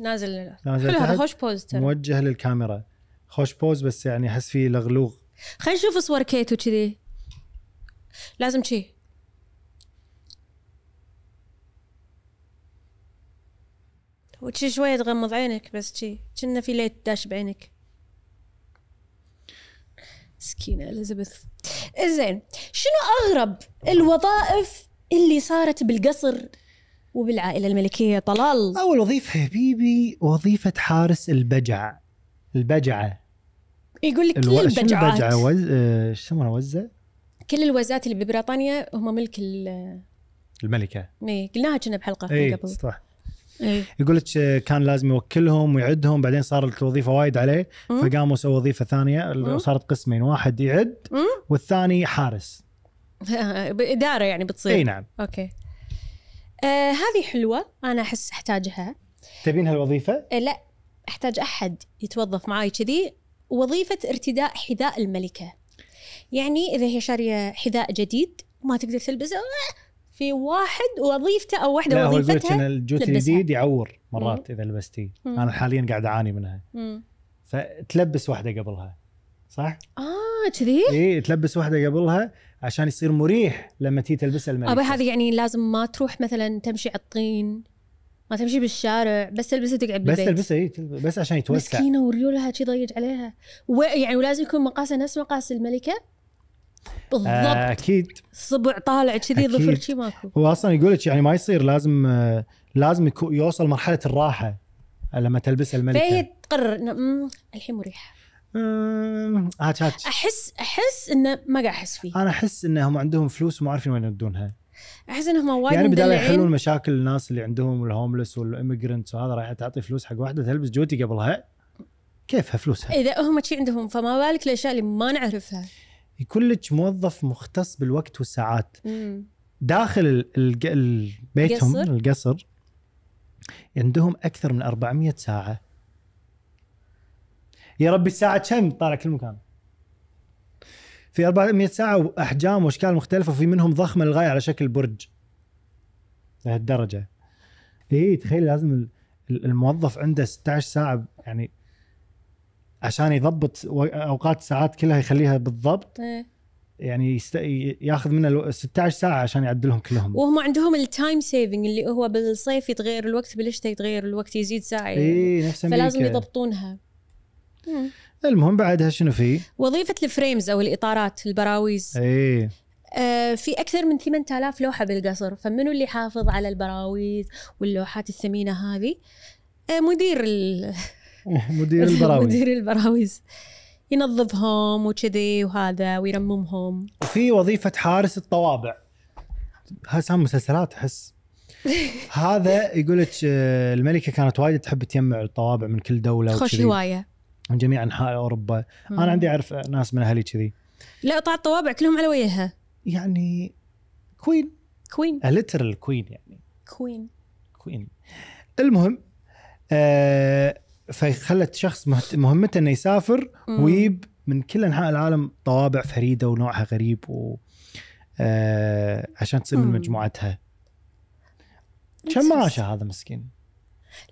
[SPEAKER 2] نازل لله.
[SPEAKER 1] نازل
[SPEAKER 2] حلو هذا
[SPEAKER 1] تحت
[SPEAKER 2] خوش بوز ترى
[SPEAKER 1] موجه للكاميرا خوش بوز بس يعني احس فيه لغلوغ
[SPEAKER 2] خلينا نشوف صور كيت وكذي لازم شي وشي شوية تغمض عينك بس شي كنا في ليت داش بعينك سكينة اليزابيث زين شنو أغرب الوظائف اللي صارت بالقصر وبالعائلة الملكية طلال
[SPEAKER 1] اول وظيفه يا بيبي وظيفه حارس البجع البجعه
[SPEAKER 2] يقول لك كل
[SPEAKER 1] الو- شنو البجعه
[SPEAKER 2] البجعات
[SPEAKER 1] وز آه، شو يسمونها وزه
[SPEAKER 2] كل الوزات اللي ببريطانيا هم ملك ال
[SPEAKER 1] الملكه
[SPEAKER 2] إيه، قلناها كنا بحلقة من
[SPEAKER 1] اي
[SPEAKER 2] قبل
[SPEAKER 1] إيه، صح
[SPEAKER 2] إيه.
[SPEAKER 1] يقول لك آه، كان لازم يوكلهم ويعدهم بعدين صارت الوظيفه وايد عليه
[SPEAKER 2] مم.
[SPEAKER 1] فقاموا سووا وظيفه ثانيه
[SPEAKER 2] مم.
[SPEAKER 1] صارت قسمين واحد يعد
[SPEAKER 2] مم.
[SPEAKER 1] والثاني حارس
[SPEAKER 2] بإدارة يعني بتصير
[SPEAKER 1] اي نعم
[SPEAKER 2] أوكي آه هذه حلوة أنا أحس أحتاجها
[SPEAKER 1] تبين هالوظيفه
[SPEAKER 2] آه لا أحتاج أحد يتوظف معاي كذي وظيفة ارتداء حذاء الملكة يعني إذا هي شارية حذاء جديد ما تقدر تلبسه آه، في واحد وظيفته أو
[SPEAKER 1] لا هو
[SPEAKER 2] واحدة
[SPEAKER 1] يقول لك ان
[SPEAKER 2] وظيفتها
[SPEAKER 1] الجوت
[SPEAKER 2] تلبسها.
[SPEAKER 1] الجديد يعور مرات اذا لبستيه
[SPEAKER 2] مم.
[SPEAKER 1] انا حاليا قاعد اعاني منها
[SPEAKER 2] مم.
[SPEAKER 1] فتلبس واحده قبلها صح؟
[SPEAKER 2] آه كذي
[SPEAKER 1] اي إيه، تلبس واحده قبلها عشان يصير مريح لما تيجي تلبسها
[SPEAKER 2] أبا
[SPEAKER 1] الملكه
[SPEAKER 2] هذه يعني لازم ما تروح مثلا تمشي على الطين ما تمشي بالشارع بس تلبسها تقعد
[SPEAKER 1] بس
[SPEAKER 2] بالبيت
[SPEAKER 1] تلبسها اي تلبس بس عشان يتوسع
[SPEAKER 2] مسكينه وريولها شي ضيق عليها و... يعني ولازم يكون مقاسها نفس مقاس الملكه بالضبط
[SPEAKER 1] آه،
[SPEAKER 2] آه.
[SPEAKER 1] اكيد
[SPEAKER 2] صبع طالع كذي
[SPEAKER 1] أكيد.
[SPEAKER 2] ظفر شي ماكو
[SPEAKER 1] هو اصلا يقول لك يعني ما يصير لازم آه، لازم يكو- يوصل مرحله الراحه لما تلبسها
[SPEAKER 2] فهي
[SPEAKER 1] الملكه
[SPEAKER 2] تقرر انه أمم، الحين مريحه
[SPEAKER 1] أمم، هاتش هاتش
[SPEAKER 2] احس احس انه ما قاعد احس فيه
[SPEAKER 1] انا احس انهم عندهم فلوس وما عارفين وين يردونها
[SPEAKER 2] احس انهم وايد
[SPEAKER 1] يعني بدال يحلون
[SPEAKER 2] مدلعين
[SPEAKER 1] مشاكل الناس اللي عندهم الهوملس والاميجرنتس وهذا رايح تعطي فلوس حق واحده تلبس جوتي قبلها كيفها فلوسها
[SPEAKER 2] إيه. اذا هم شي عندهم فما بالك الاشياء اللي ما نعرفها
[SPEAKER 1] يكون لك موظف مختص بالوقت والساعات داخل ال- الج- ال- بيتهم
[SPEAKER 2] القصر؟
[SPEAKER 1] القصر عندهم اكثر من 400 ساعه يا ربي الساعه كم طالع كل مكان في 400 ساعه واحجام واشكال مختلفه وفي منهم ضخمه للغايه على شكل برج لهالدرجه اي إيه، تخيل لازم ال- ال- الموظف عنده 16 ساعه يعني عشان يضبط و- اوقات الساعات كلها يخليها بالضبط
[SPEAKER 2] إيه.
[SPEAKER 1] يعني يست... ي- ياخذ منه الو- 16 ساعه عشان يعدلهم كلهم
[SPEAKER 2] وهم عندهم التايم سيفنج اللي هو بالصيف يتغير الوقت بالشتاء يتغير الوقت يزيد ساعه يعني.
[SPEAKER 1] اي إيه، نفس امريكا
[SPEAKER 2] فلازم يضبطونها مم.
[SPEAKER 1] المهم بعدها شنو في؟
[SPEAKER 2] وظيفه الفريمز او الاطارات البراويز
[SPEAKER 1] اي
[SPEAKER 2] آه، في اكثر من 8000 لوحه بالقصر فمنو اللي حافظ على البراويز واللوحات الثمينه هذه آه، مدير ال...
[SPEAKER 1] مدير البراوي
[SPEAKER 2] مدير البراويز ينظفهم وكذي وهذا ويرممهم
[SPEAKER 1] وفي وظيفه حارس الطوابع هسه مسلسلات احس هذا يقول لك آه، الملكه كانت وايد تحب تجمع الطوابع من كل دوله
[SPEAKER 2] تخش
[SPEAKER 1] وكذي،
[SPEAKER 2] هوايه
[SPEAKER 1] من جميع انحاء اوروبا انا عندي اعرف ناس من اهلي كذي
[SPEAKER 2] لا قطع الطوابع كلهم على وجهها
[SPEAKER 1] يعني كوين
[SPEAKER 2] كوين
[SPEAKER 1] ليترال كوين يعني
[SPEAKER 2] كوين
[SPEAKER 1] كوين المهم آه فخلت شخص مهت- مهمته انه يسافر ويب من كل انحاء العالم طوابع فريده ونوعها غريب و آه عشان تصير من
[SPEAKER 2] مم.
[SPEAKER 1] مجموعتها كم معاشه هذا مسكين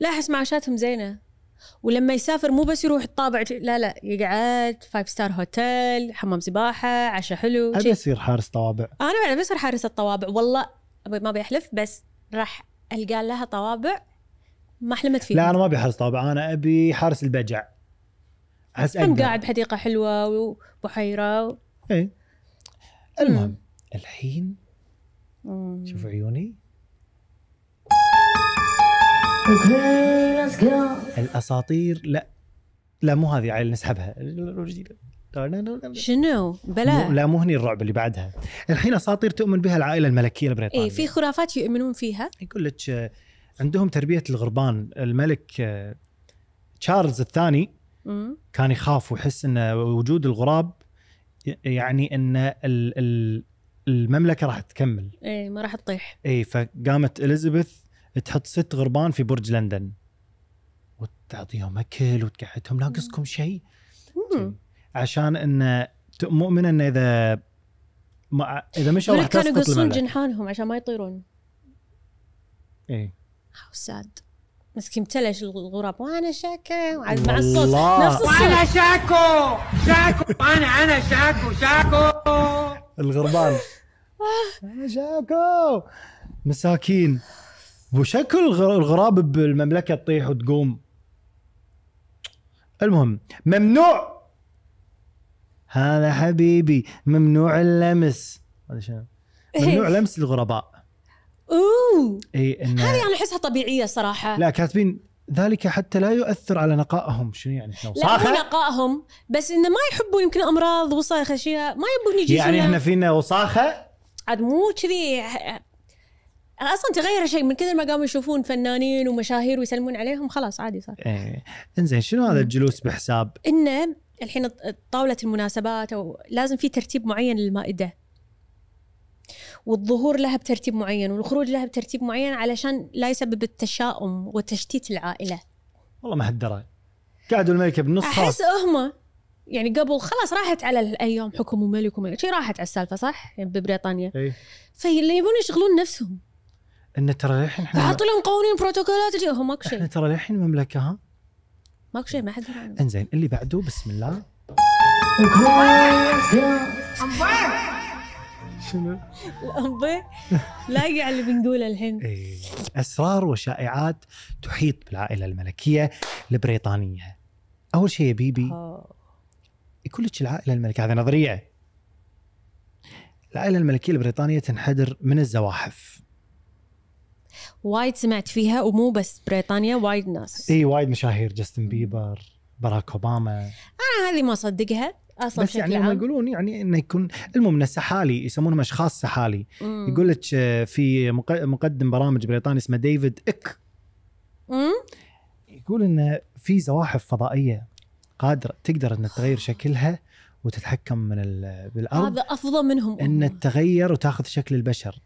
[SPEAKER 2] لا احس معاشاتهم زينه ولما يسافر مو بس يروح الطابع لا لا يقعد فايف ستار هوتيل حمام سباحه عشاء حلو
[SPEAKER 1] ابي
[SPEAKER 2] شي.
[SPEAKER 1] اصير حارس طوابع
[SPEAKER 2] انا بعد بصير حارس الطوابع والله أبي ما بيحلف بس راح القى لها طوابع ما حلمت فيها
[SPEAKER 1] لا انا ما ابي حارس طوابع انا ابي حارس البجع احس
[SPEAKER 2] هم
[SPEAKER 1] أقدر.
[SPEAKER 2] قاعد بحديقه حلوه وبحيره و...
[SPEAKER 1] إيه. المهم الحين شوفوا عيوني
[SPEAKER 4] Okay, let's go.
[SPEAKER 1] الاساطير لا لا مو هذه عيل نسحبها الجديده
[SPEAKER 2] شنو بلا
[SPEAKER 1] مو- لا مو هني الرعب اللي بعدها الحين اساطير تؤمن بها العائله الملكيه البريطانيه
[SPEAKER 2] اي إيه، في خرافات يؤمنون فيها
[SPEAKER 1] يقول لك آه، عندهم تربيه الغربان الملك آه، تشارلز الثاني
[SPEAKER 2] مم.
[SPEAKER 1] كان يخاف ويحس ان وجود الغراب ي- يعني ان ال- ال- المملكه راح تكمل
[SPEAKER 2] اي إيه، ما راح تطيح
[SPEAKER 1] اي فقامت اليزابيث تحط ست غربان في برج لندن وتعطيهم اكل وتقعدهم ناقصكم شيء
[SPEAKER 2] مم.
[SPEAKER 1] عشان انه ت- مؤمنه انه اذا ما اذا مشوا
[SPEAKER 2] يقول
[SPEAKER 1] راح
[SPEAKER 2] لك كانوا
[SPEAKER 1] تسقط
[SPEAKER 2] يقصون
[SPEAKER 1] المملكه
[SPEAKER 2] جنحانهم عشان ما يطيرون
[SPEAKER 1] إيه.
[SPEAKER 2] هاو ساد مسكين تلش الغراب وانا شاكا وعاد مع الصوت
[SPEAKER 1] والله.
[SPEAKER 2] نفس الصوت
[SPEAKER 5] وانا شاكو شاكو انا انا شاكو شاكو
[SPEAKER 1] الغربان شاكو مساكين وشكل الغ- الغراب بالمملكه تطيح وتقوم المهم ممنوع هذا حبيبي ممنوع اللمس هذا شنو
[SPEAKER 2] إيه.
[SPEAKER 1] ممنوع لمس الغرباء
[SPEAKER 2] اوه
[SPEAKER 1] اي انه
[SPEAKER 2] هذه انا احسها طبيعيه صراحه
[SPEAKER 1] لا كاتبين ذلك حتى لا يؤثر على نقائهم شنو يعني احنا
[SPEAKER 2] لا مو
[SPEAKER 1] وصاخه
[SPEAKER 2] نقائهم بس انه ما يحبوا يمكن امراض وصايخ اشياء ما يبون يجي
[SPEAKER 1] يعني احنا فينا وصاخه
[SPEAKER 2] عاد مو كذي اصلا تغير شيء من كثر ما قاموا يشوفون فنانين ومشاهير ويسلمون عليهم خلاص عادي صار
[SPEAKER 1] إيه. انزين شنو هذا الجلوس بحساب
[SPEAKER 2] انه الحين الط- طاوله المناسبات او لازم في ترتيب معين للمائده والظهور لها بترتيب معين والخروج لها بترتيب معين علشان لا يسبب التشاؤم وتشتيت العائله
[SPEAKER 1] والله ما حد درى قعدوا الملكه بالنص خلاص
[SPEAKER 2] احس هم يعني قبل خلاص راحت على الايام حكم وملك وما شي راحت على السالفه صح يعني ببريطانيا
[SPEAKER 1] إيه.
[SPEAKER 2] فاللي يبون يشغلون نفسهم
[SPEAKER 1] ان ترى للحين احنا
[SPEAKER 2] حاطوا لهم قوانين بروتوكولات وشي. هم ماكو
[SPEAKER 1] احنا
[SPEAKER 2] شيء
[SPEAKER 1] ترى للحين مملكه ها
[SPEAKER 2] ماكو شيء ما حد يدري عنه.
[SPEAKER 1] انزين اللي بعده بسم الله
[SPEAKER 4] Okay, let's go.
[SPEAKER 1] شنو؟
[SPEAKER 2] الأنبي لاقي على اللي بنقوله الحين
[SPEAKER 1] إيه. اسرار وشائعات تحيط بالعائله الملكيه البريطانيه. اول شيء يا بيبي
[SPEAKER 3] آه.
[SPEAKER 1] يقول لك العائله الملكيه هذه نظريه. العائله الملكيه البريطانيه تنحدر من الزواحف.
[SPEAKER 2] وايد سمعت فيها ومو بس بريطانيا وايد ناس
[SPEAKER 1] اي إيه، وايد مشاهير جاستن بيبر باراك اوباما
[SPEAKER 2] انا هذه ما اصدقها اصلا
[SPEAKER 1] بس
[SPEAKER 2] بشكل
[SPEAKER 1] يعني هم
[SPEAKER 2] عام
[SPEAKER 1] يقولون يعني انه يكون المهم انه سحالي يسمونهم اشخاص سحالي
[SPEAKER 2] مم.
[SPEAKER 1] يقول لك آه، في مق- مقدم برامج بريطاني اسمه ديفيد اك
[SPEAKER 2] مم؟
[SPEAKER 1] يقول انه في زواحف فضائيه قادره تقدر انها تغير شكلها وتتحكم من ال- بالارض
[SPEAKER 2] هذا افضل منهم
[SPEAKER 1] ان تتغير وتاخذ شكل البشر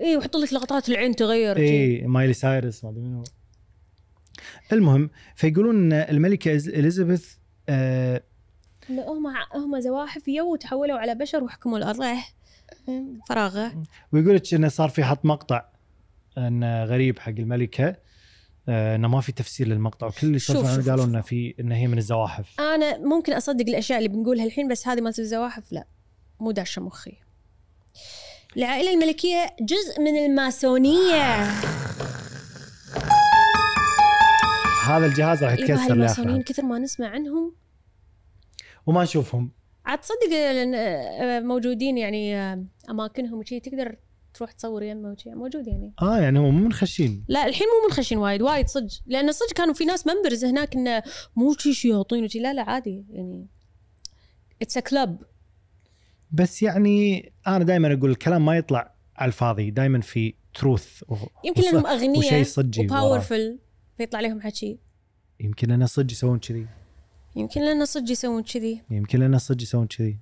[SPEAKER 2] اي إيه، ويحط لك لقطات العين تغير
[SPEAKER 1] إيه.
[SPEAKER 2] جي.
[SPEAKER 1] اي مايلي سايرس ما ادري منو المهم فيقولون ان الملكه إز- اليزابيث آه
[SPEAKER 2] لا، هم هم زواحف يو تحولوا على بشر وحكموا الارض إيه. فراغه
[SPEAKER 1] ويقول لك انه صار في حط مقطع انه غريب حق الملكه آه انه ما في تفسير للمقطع وكل اللي
[SPEAKER 2] شوف،
[SPEAKER 1] سولفوا عنه
[SPEAKER 2] شوف،
[SPEAKER 1] قالوا
[SPEAKER 2] شوف.
[SPEAKER 1] انه في انه هي من الزواحف
[SPEAKER 2] انا ممكن اصدق الاشياء اللي بنقولها الحين بس هذه مالت الزواحف لا مو داشه مخي العائله الملكيه جزء من الماسونيه
[SPEAKER 1] هذا الجهاز راح
[SPEAKER 2] يبا
[SPEAKER 1] يتكسر
[SPEAKER 2] إيه، الماسونيين
[SPEAKER 1] لاخره
[SPEAKER 2] كثر ما نسمع عنهم
[SPEAKER 1] وما نشوفهم
[SPEAKER 2] عاد تصدق لأن، آه، موجودين يعني آه، اماكنهم وشي تقدر تروح تصور يمه وشي موجود يعني
[SPEAKER 1] اه يعني هم مو منخشين
[SPEAKER 2] لا الحين مو منخشين وايد وايد صدق لان صدق كانوا في ناس ممبرز هناك انه مو شي شياطين وشي لا لا عادي يعني اتس ا كلب
[SPEAKER 1] بس يعني انا دائما اقول الكلام ما يطلع على الفاضي دائما في تروث
[SPEAKER 2] يمكن لانهم اغنياء
[SPEAKER 1] وشيء صجي وراه.
[SPEAKER 2] وباورفل فيطلع لهم حكي
[SPEAKER 1] يمكن لنا صدق يسوون كذي
[SPEAKER 2] يمكن لان صدق يسوون كذي
[SPEAKER 1] يمكن لنا صدق يسوون كذي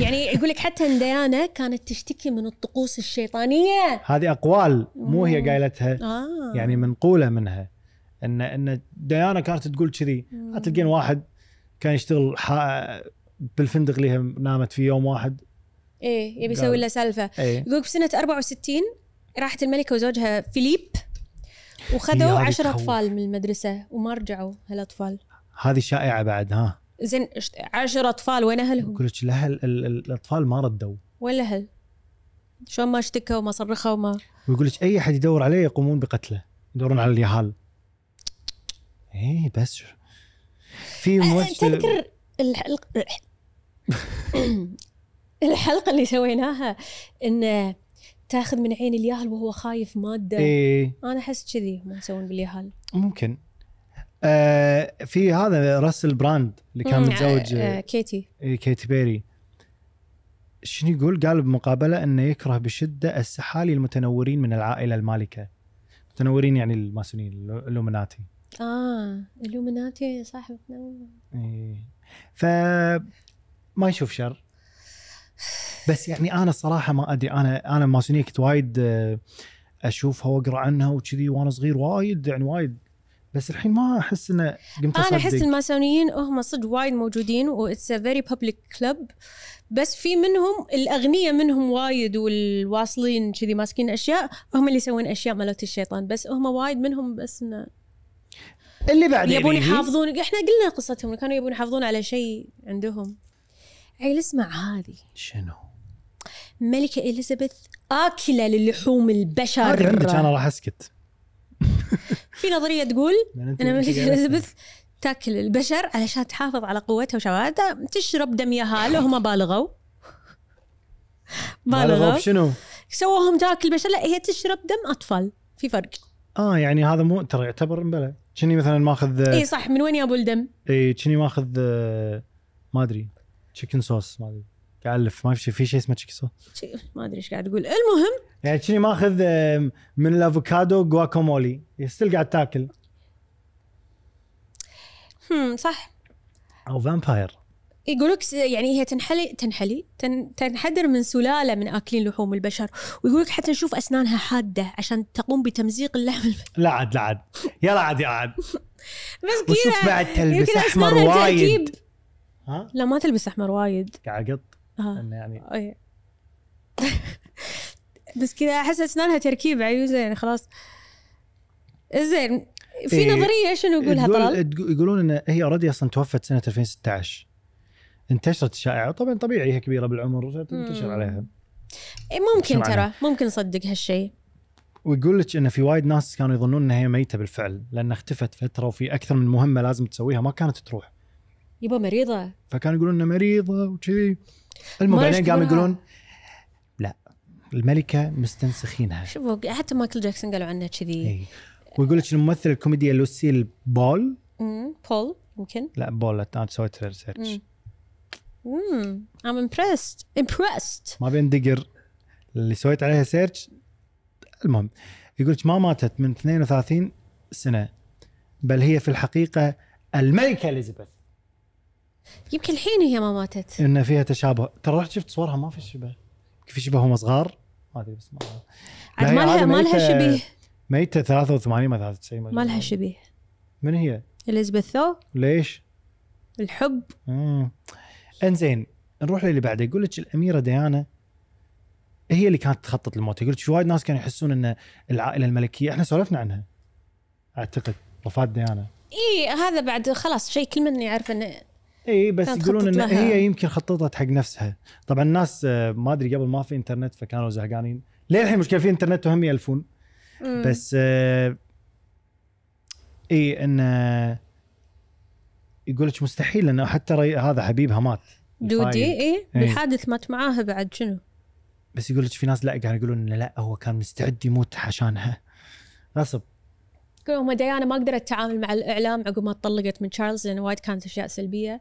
[SPEAKER 2] يعني يقول لك حتى إن ديانا كانت تشتكي من الطقوس الشيطانيه
[SPEAKER 1] هذه اقوال مو هي
[SPEAKER 2] مم.
[SPEAKER 1] قايلتها
[SPEAKER 2] اه
[SPEAKER 1] يعني منقوله منها ان ان ديانا كانت تقول كذي
[SPEAKER 2] مم.
[SPEAKER 1] تلقين واحد كان يشتغل حا- بالفندق اللي هي نامت فيه يوم واحد إيه.
[SPEAKER 2] ايه يبي
[SPEAKER 1] قال.
[SPEAKER 2] يسوي له سالفه
[SPEAKER 1] اي
[SPEAKER 2] يقول في سنه 64 راحت الملكه وزوجها فيليب
[SPEAKER 1] إيه،
[SPEAKER 2] وخذوا
[SPEAKER 1] هذه
[SPEAKER 2] عشر
[SPEAKER 1] تخوف.
[SPEAKER 2] اطفال من المدرسه وما رجعوا هالاطفال
[SPEAKER 1] هذه شائعه بعد ها
[SPEAKER 2] زين إيش- عشر اطفال وين اهلهم؟
[SPEAKER 1] يقول لك الاهل ال- ال- الاطفال ما ردوا
[SPEAKER 2] وين الاهل؟ شلون ما اشتكوا وما صرخوا وما
[SPEAKER 1] ويقول لك اي احد يدور عليه يقومون بقتله يدورون على اليهال اي بس شو- في ممثل
[SPEAKER 2] تذكر الحلقه الحلقه اللي سويناها ان تاخذ من عين الياهل وهو خايف ماده
[SPEAKER 1] اي
[SPEAKER 2] انا احس كذي هم يسوون بالياهل
[SPEAKER 1] إيه، ممكن آه في هذا راسل براند اللي كان
[SPEAKER 2] مم،
[SPEAKER 1] متزوج
[SPEAKER 2] آه، آه،
[SPEAKER 1] آه
[SPEAKER 2] كيتي
[SPEAKER 1] كيتي بيري شنو يقول؟ قال بمقابله انه يكره بشده السحالي المتنورين من العائله المالكه. متنورين يعني الماسونيين اللو- اللومناتي.
[SPEAKER 2] اه الومناتي صاحب
[SPEAKER 1] إيه. ف ما يشوف شر بس يعني انا الصراحه ما ادري انا انا الماسونيه كنت وايد آه، اشوفها واقرا عنها وكذي وانا صغير وايد يعني وايد بس الحين ما احس انه قمت
[SPEAKER 2] انا احس
[SPEAKER 1] أصدق.
[SPEAKER 2] الماسونيين هم صدق وايد موجودين واتس ا فيري بابليك كلب بس في منهم الاغنياء منهم وايد والواصلين كذي ماسكين اشياء هم اللي يسوون اشياء مالت الشيطان بس هم وايد منهم بس انه
[SPEAKER 1] اللي بعد
[SPEAKER 2] يبون
[SPEAKER 1] يعني-
[SPEAKER 2] يحافظون احنا قلنا قصتهم كانوا يبون يحافظون على شيء عندهم عيل اسمع هذه
[SPEAKER 1] شنو؟
[SPEAKER 2] ملكة اليزابيث آكلة للحوم
[SPEAKER 1] هذه عندك انا
[SPEAKER 2] البشر
[SPEAKER 1] راح اسكت
[SPEAKER 2] في نظرية تقول
[SPEAKER 1] لأن أنت-
[SPEAKER 2] أن
[SPEAKER 1] أنت
[SPEAKER 2] ملكة
[SPEAKER 1] قاعدة-
[SPEAKER 2] اليزابيث تاكل البشر علشان تحافظ على قوتها وشبابها تشرب دم يهال وهم بالغوا بالغوا
[SPEAKER 1] بالغوا شنو؟
[SPEAKER 2] سووهم تاكل بشر لا هي تشرب دم أطفال في فرق
[SPEAKER 1] اه يعني هذا مو ترى يعتبر مبلى كني مثلا ماخذ
[SPEAKER 2] اي إيه، صح من وين يابوا الدم
[SPEAKER 1] اي كني ماخذ آه، ما ادري تشيكن صوص ما ادري قاعد الف ما في شيء في شيء اسمه تشيكن صوص
[SPEAKER 2] شي- ما ادري ايش قاعد تقول المهم
[SPEAKER 1] يعني كني ماخذ آم، من الافوكادو جواكامولي ستيل قاعد تاكل
[SPEAKER 2] هم صح
[SPEAKER 1] او فامباير
[SPEAKER 2] يقولك س- يعني هي تنحلي تنحلي تن تنحدر من سلاله من اكلين لحوم البشر ويقولك حتى نشوف اسنانها حاده عشان تقوم بتمزيق اللحم الب-
[SPEAKER 1] لا عاد لا عاد يلا عاد يا عاد
[SPEAKER 2] مسكينه
[SPEAKER 1] وشوف بعد تلبس
[SPEAKER 2] يمكن
[SPEAKER 1] احمر
[SPEAKER 2] يعني أسنانها
[SPEAKER 1] وايد
[SPEAKER 2] تركيب.
[SPEAKER 1] ها
[SPEAKER 2] لا ما تلبس احمر وايد
[SPEAKER 1] قاعد اقط
[SPEAKER 2] آه.
[SPEAKER 1] انه يعني
[SPEAKER 2] أي. بس كذا احس اسنانها تركيب عيوزه يعني خلاص زين في
[SPEAKER 1] إيه.
[SPEAKER 2] نظريه شنو يقولها
[SPEAKER 1] تقول-
[SPEAKER 2] طلال؟
[SPEAKER 1] تقو- يقولون ان هي اوريدي اصلا توفت سنه 2016 انتشرت الشائعه طبعا طبيعي هي كبيره بالعمر فتنتشر
[SPEAKER 2] مم.
[SPEAKER 1] عليها
[SPEAKER 2] إيه، ممكن
[SPEAKER 1] شنو
[SPEAKER 2] ترى
[SPEAKER 1] معناها؟
[SPEAKER 2] ممكن صدق هالشيء
[SPEAKER 1] ويقول لك ان في وايد ناس كانوا يظنون انها هي ميته بالفعل لان اختفت فتره وفي اكثر من مهمه لازم تسويها ما كانت تروح
[SPEAKER 2] يبا مريضه
[SPEAKER 1] فكانوا يقولون انها مريضه وكذي المهم
[SPEAKER 2] ما
[SPEAKER 1] بعدين قاموا
[SPEAKER 2] يشتغلونها.
[SPEAKER 1] يقولون لا الملكه مستنسخينها
[SPEAKER 2] شوفوا حتى مايكل جاكسون قالوا عنه كذي
[SPEAKER 1] إي. ويقول لك الممثله الكوميدية لوسيل بول
[SPEAKER 2] مم، بول يمكن
[SPEAKER 1] لا بول لا، انا سويت ريسيرش
[SPEAKER 2] مم. امم I'm impressed impressed
[SPEAKER 1] ما بيندقر اللي سويت عليها سيرش المهم يقول لك ما ماتت من 32 سنه بل هي في الحقيقه الملكه اليزابيث
[SPEAKER 2] يمكن الحين هي ما ماتت
[SPEAKER 1] ان فيها تشابه ترى رحت شفت صورها ما في شبه يمكن في شبه هم صغار ما ادري بس ما
[SPEAKER 2] عاد
[SPEAKER 1] لا، هي
[SPEAKER 2] ما لها
[SPEAKER 1] عادة
[SPEAKER 2] ما لها
[SPEAKER 1] ميتة-
[SPEAKER 2] شبيه
[SPEAKER 1] ميتة 83 ما 93
[SPEAKER 2] ما لها شبيه
[SPEAKER 1] من هي؟
[SPEAKER 2] اليزابيث ثو
[SPEAKER 1] ليش؟
[SPEAKER 2] الحب
[SPEAKER 1] مم. انزين نروح للي بعده يقول لك الاميره ديانا هي اللي كانت تخطط الموت يقول لك في وايد ناس كانوا يحسون ان العائله الملكيه احنا سولفنا عنها اعتقد وفاه ديانا
[SPEAKER 2] اي إيه، هذا بعد خلاص شيء كل من يعرف انه
[SPEAKER 1] اي بس
[SPEAKER 2] كانت
[SPEAKER 1] يقولون ان
[SPEAKER 2] تخطط لها.
[SPEAKER 1] هي يمكن خططت حق نفسها طبعا الناس آه، ما ادري قبل ما في انترنت فكانوا زهقانين ليه الحين مشكله في انترنت وهم يالفون
[SPEAKER 2] مم.
[SPEAKER 1] بس آه، اي ان آه، يقول لك مستحيل لانه حتى ري- هذا حبيبها مات
[SPEAKER 2] دودي
[SPEAKER 1] الفايل.
[SPEAKER 2] اي
[SPEAKER 1] إي.
[SPEAKER 2] الحادث مات معاها بعد شنو
[SPEAKER 1] بس يقول لك في ناس لا قاعد يقولون انه لا هو كان مستعد يموت عشانها غصب
[SPEAKER 2] يقولون هم ديانا ما قدرت تتعامل مع الاعلام عقب ما طلقت من تشارلز لان وايد كانت اشياء سلبيه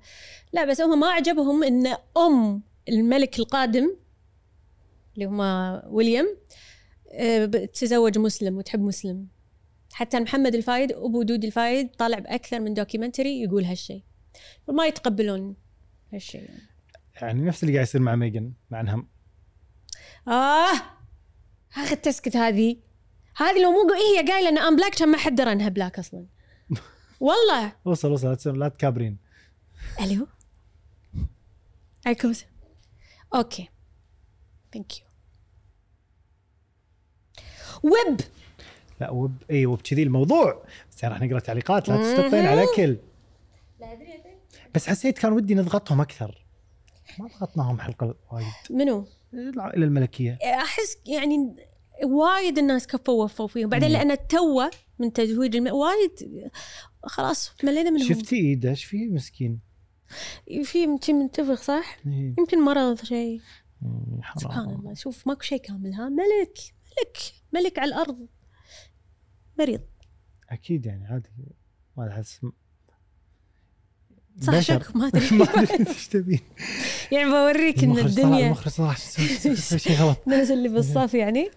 [SPEAKER 2] لا بس هم ما عجبهم ان ام الملك القادم اللي هم ويليام آه، ب- تزوج مسلم وتحب مسلم حتى محمد الفايد ابو دودي الفايد طالع باكثر من دوكيومنتري يقول هالشيء ما يتقبلون هالشيء
[SPEAKER 1] يعني نفس اللي قاعد يصير مع ميجن مع انها
[SPEAKER 2] اه اخي التسكت هذه هذه لو مو إيه هي قايله ان ام بلاك كان ما حد درى انها بلاك اصلا والله
[SPEAKER 1] وصل وصل لا تسوي- لا تكابرين
[SPEAKER 2] الو عليكم السلام اوكي ثانك يو ويب
[SPEAKER 1] لا وب اي وب كذي الموضوع بس يعني راح نقرا تعليقات لا تستطين على كل
[SPEAKER 2] لا ادري ادري
[SPEAKER 1] بس حسيت كان ودي نضغطهم اكثر ما ضغطناهم حلقه وايد
[SPEAKER 2] منو؟
[SPEAKER 1] العائله الملكيه
[SPEAKER 2] احس يعني وايد الناس كفوا وفوا فيهم بعدين
[SPEAKER 1] مم.
[SPEAKER 2] لان توه من تزويج الم... وايد خلاص ملينا منهم
[SPEAKER 1] شفتي ايده ايش فيه مسكين
[SPEAKER 2] في يمكن منتفخ صح؟
[SPEAKER 1] إيه،
[SPEAKER 2] يمكن مرض شيء
[SPEAKER 1] مم،
[SPEAKER 2] سبحان
[SPEAKER 1] يعني حرام
[SPEAKER 2] الله شوف ماكو شيء كامل ها ملك ملك ملك على الارض مريض
[SPEAKER 1] اكيد يعني عادي ما احس
[SPEAKER 2] صح شك ما ادري
[SPEAKER 1] ما ادري ايش تبين
[SPEAKER 2] يعني بوريك ان
[SPEAKER 1] المخرج طلع-
[SPEAKER 2] الدنيا
[SPEAKER 1] المخرج صراحه شيء غلط
[SPEAKER 2] الناس اللي بالصف يعني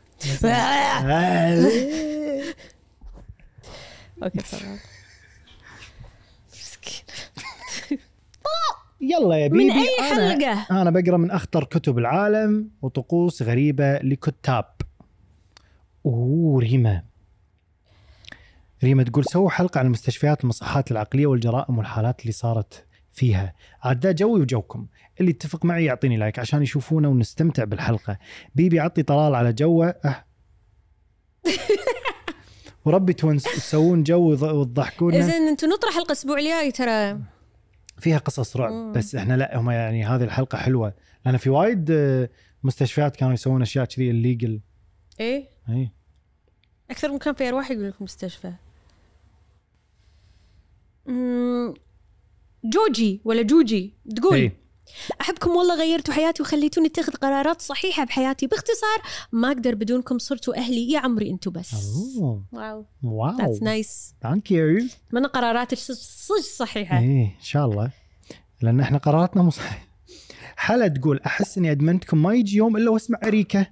[SPEAKER 2] اوكي تفضل مسكين
[SPEAKER 1] يلا يا بيبي
[SPEAKER 2] من اي
[SPEAKER 1] أنا,
[SPEAKER 2] حلقه
[SPEAKER 1] انا بقرا من اخطر كتب العالم وطقوس غريبه لكتاب اوه ريما ريما تقول سووا حلقه عن المستشفيات المصحات العقليه والجرائم والحالات اللي صارت فيها عاد ده جوي وجوكم اللي يتفق معي يعطيني لايك عشان يشوفونا ونستمتع بالحلقه بيبي عطي طلال على جوه أه. وربي تونس تسوون جو وض- وتضحكونا
[SPEAKER 2] اذا انتم نطرح حلقه الاسبوع الجاي ترى
[SPEAKER 1] فيها قصص رعب
[SPEAKER 2] مم.
[SPEAKER 1] بس احنا لا هم يعني هذه الحلقه حلوه لان في وايد آه، مستشفيات كانوا يسوون اشياء كذي إيه. الليجل
[SPEAKER 2] ايه
[SPEAKER 1] اي
[SPEAKER 2] اكثر من كان في ارواح يقول لكم مستشفى أمم، جوجي ولا جوجي تقول
[SPEAKER 1] اي
[SPEAKER 2] احبكم والله غيرتوا حياتي وخليتوني اتخذ قرارات صحيحه بحياتي باختصار ما اقدر بدونكم صرتوا اهلي يا عمري انتوا بس
[SPEAKER 1] أوه،
[SPEAKER 2] واو
[SPEAKER 1] واو
[SPEAKER 2] ذاتس نايس
[SPEAKER 1] ثانك يو
[SPEAKER 2] اتمنى قراراتك صج صج صحيحه
[SPEAKER 1] اي ان إيه، شاء الله لان احنا قراراتنا مو صحيحه حلا تقول احس اني ادمنتكم ما يجي يوم الا واسمع اريكه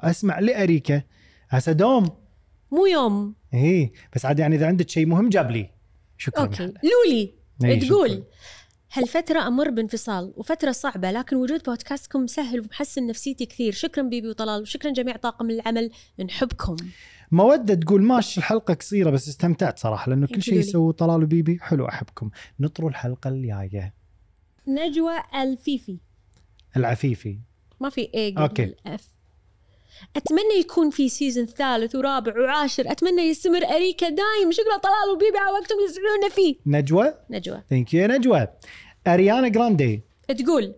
[SPEAKER 1] اسمع لاريكه هسه دوم
[SPEAKER 2] مو يوم
[SPEAKER 1] اي بس عاد يعني اذا عندك شيء مهم جاب لي شكرا
[SPEAKER 2] اوكي لولي
[SPEAKER 1] إي،
[SPEAKER 2] تقول
[SPEAKER 1] إيه، شكراً.
[SPEAKER 2] هالفترة أمر بانفصال وفترة صعبة لكن وجود بودكاستكم مسهل ومحسن نفسيتي كثير شكرا بيبي وطلال وشكرا جميع طاقم العمل نحبكم
[SPEAKER 1] مودة تقول ماشي الحلقة قصيرة بس استمتعت صراحة لأنه كل
[SPEAKER 2] Thank you,
[SPEAKER 1] شيء
[SPEAKER 2] Lily.
[SPEAKER 1] يسووه طلال وبيبي حلو أحبكم نطروا الحلقة الجاية
[SPEAKER 2] نجوى الفيفي
[SPEAKER 1] العفيفي
[SPEAKER 2] ما في اي
[SPEAKER 1] أوكي.
[SPEAKER 2] قبل الاف اتمنى يكون في سيزون ثالث ورابع وعاشر اتمنى يستمر اريكا دايم شكرا طلال وبيبي على وقتكم اللي تسمعونا فيه
[SPEAKER 1] نجوى
[SPEAKER 2] نجوى
[SPEAKER 1] ثانك يو نجوى أريانا جراندي
[SPEAKER 2] تقول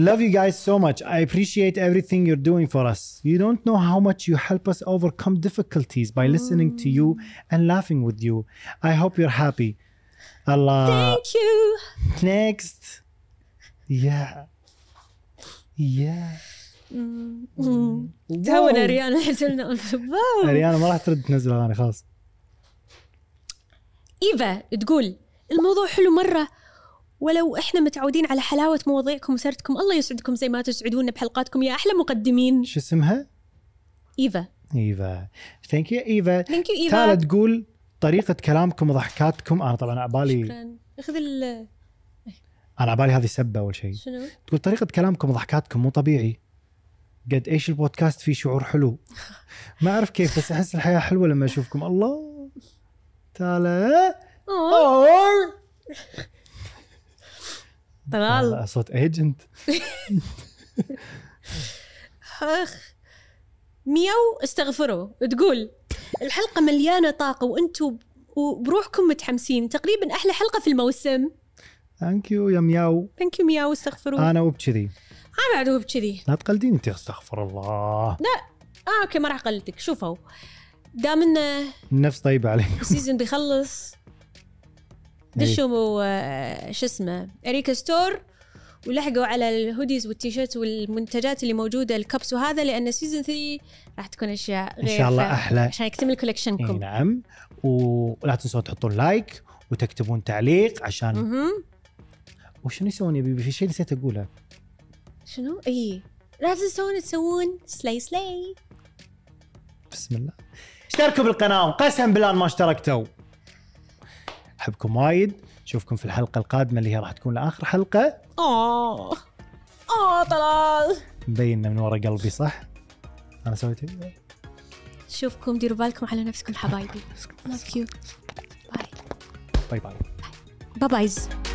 [SPEAKER 1] Love you guys so much. I appreciate everything you're doing for us. You don't know how much you help us overcome difficulties by listening to you and laughing with you. I hope you're happy. Allah.
[SPEAKER 2] ثانك يو
[SPEAKER 1] Next. Yeah. Yeah.
[SPEAKER 2] تهون اريانا حسنا
[SPEAKER 1] اريانا ما راح ترد تنزل اغاني خلاص
[SPEAKER 2] ايفا تقول الموضوع حلو مره ولو احنا متعودين على حلاوه مواضيعكم وسردكم الله يسعدكم زي ما تسعدونا بحلقاتكم يا احلى مقدمين
[SPEAKER 1] شو اسمها؟
[SPEAKER 2] ايفا
[SPEAKER 1] ايفا ثانك يو ايفا
[SPEAKER 2] ثانك يو
[SPEAKER 1] تالا
[SPEAKER 2] ايفا
[SPEAKER 1] تقول طريقة كلامكم وضحكاتكم انا طبعا عبالي
[SPEAKER 2] شكرا اخذ ال
[SPEAKER 1] انا على بالي هذه سبه اول شيء
[SPEAKER 2] شنو؟
[SPEAKER 1] تقول طريقه كلامكم وضحكاتكم مو طبيعي قد ايش البودكاست فيه شعور حلو ما اعرف كيف بس احس الحياه حلوه لما اشوفكم الله تعالى
[SPEAKER 2] أوه. طلال
[SPEAKER 1] والله صوت ايجنت
[SPEAKER 2] اخ مياو استغفروا تقول الحلقه مليانه طاقه وانتم وبروحكم متحمسين تقريبا احلى حلقه في الموسم
[SPEAKER 1] ثانك يو يا مياو
[SPEAKER 2] ثانك يو مياو استغفروا انا
[SPEAKER 1] انا وبكذي
[SPEAKER 2] بعد هو بكذي
[SPEAKER 1] لا تقلديني انت استغفر الله
[SPEAKER 2] اه اوكي ما راح اقلدك شوفوا دام ان
[SPEAKER 1] النفس طيبه عليك
[SPEAKER 2] السيزون بيخلص
[SPEAKER 1] إيه.
[SPEAKER 2] دشوا آه، شو اسمه اريكا ستور ولحقوا على الهوديز والتيشيرت والمنتجات اللي موجوده الكبس وهذا لان سيزون 3 راح تكون اشياء
[SPEAKER 1] ان
[SPEAKER 2] غير
[SPEAKER 1] إيه. شاء الله
[SPEAKER 2] ف-
[SPEAKER 1] احلى
[SPEAKER 2] عشان يكتمل كولكشنكم
[SPEAKER 1] اي نعم ولا تنسون تحطون لايك وتكتبون تعليق عشان
[SPEAKER 2] مهم.
[SPEAKER 1] وشنو يسوون يا بيبي في شيء نسيت اقوله
[SPEAKER 2] شنو؟ اي لا تنسون تسوون سلاي سلاي
[SPEAKER 1] بسم الله اشتركوا بالقناه قسم بالله ما اشتركتوا احبكم وايد نشوفكم في الحلقه القادمه اللي هي راح تكون لاخر حلقه
[SPEAKER 2] اوه اوه طلال
[SPEAKER 1] مبين من ورا قلبي صح انا سويت
[SPEAKER 2] شوفكم ديروا بالكم على نفسكم حبايبي لاف يو باي
[SPEAKER 1] باي باي
[SPEAKER 2] باي بايز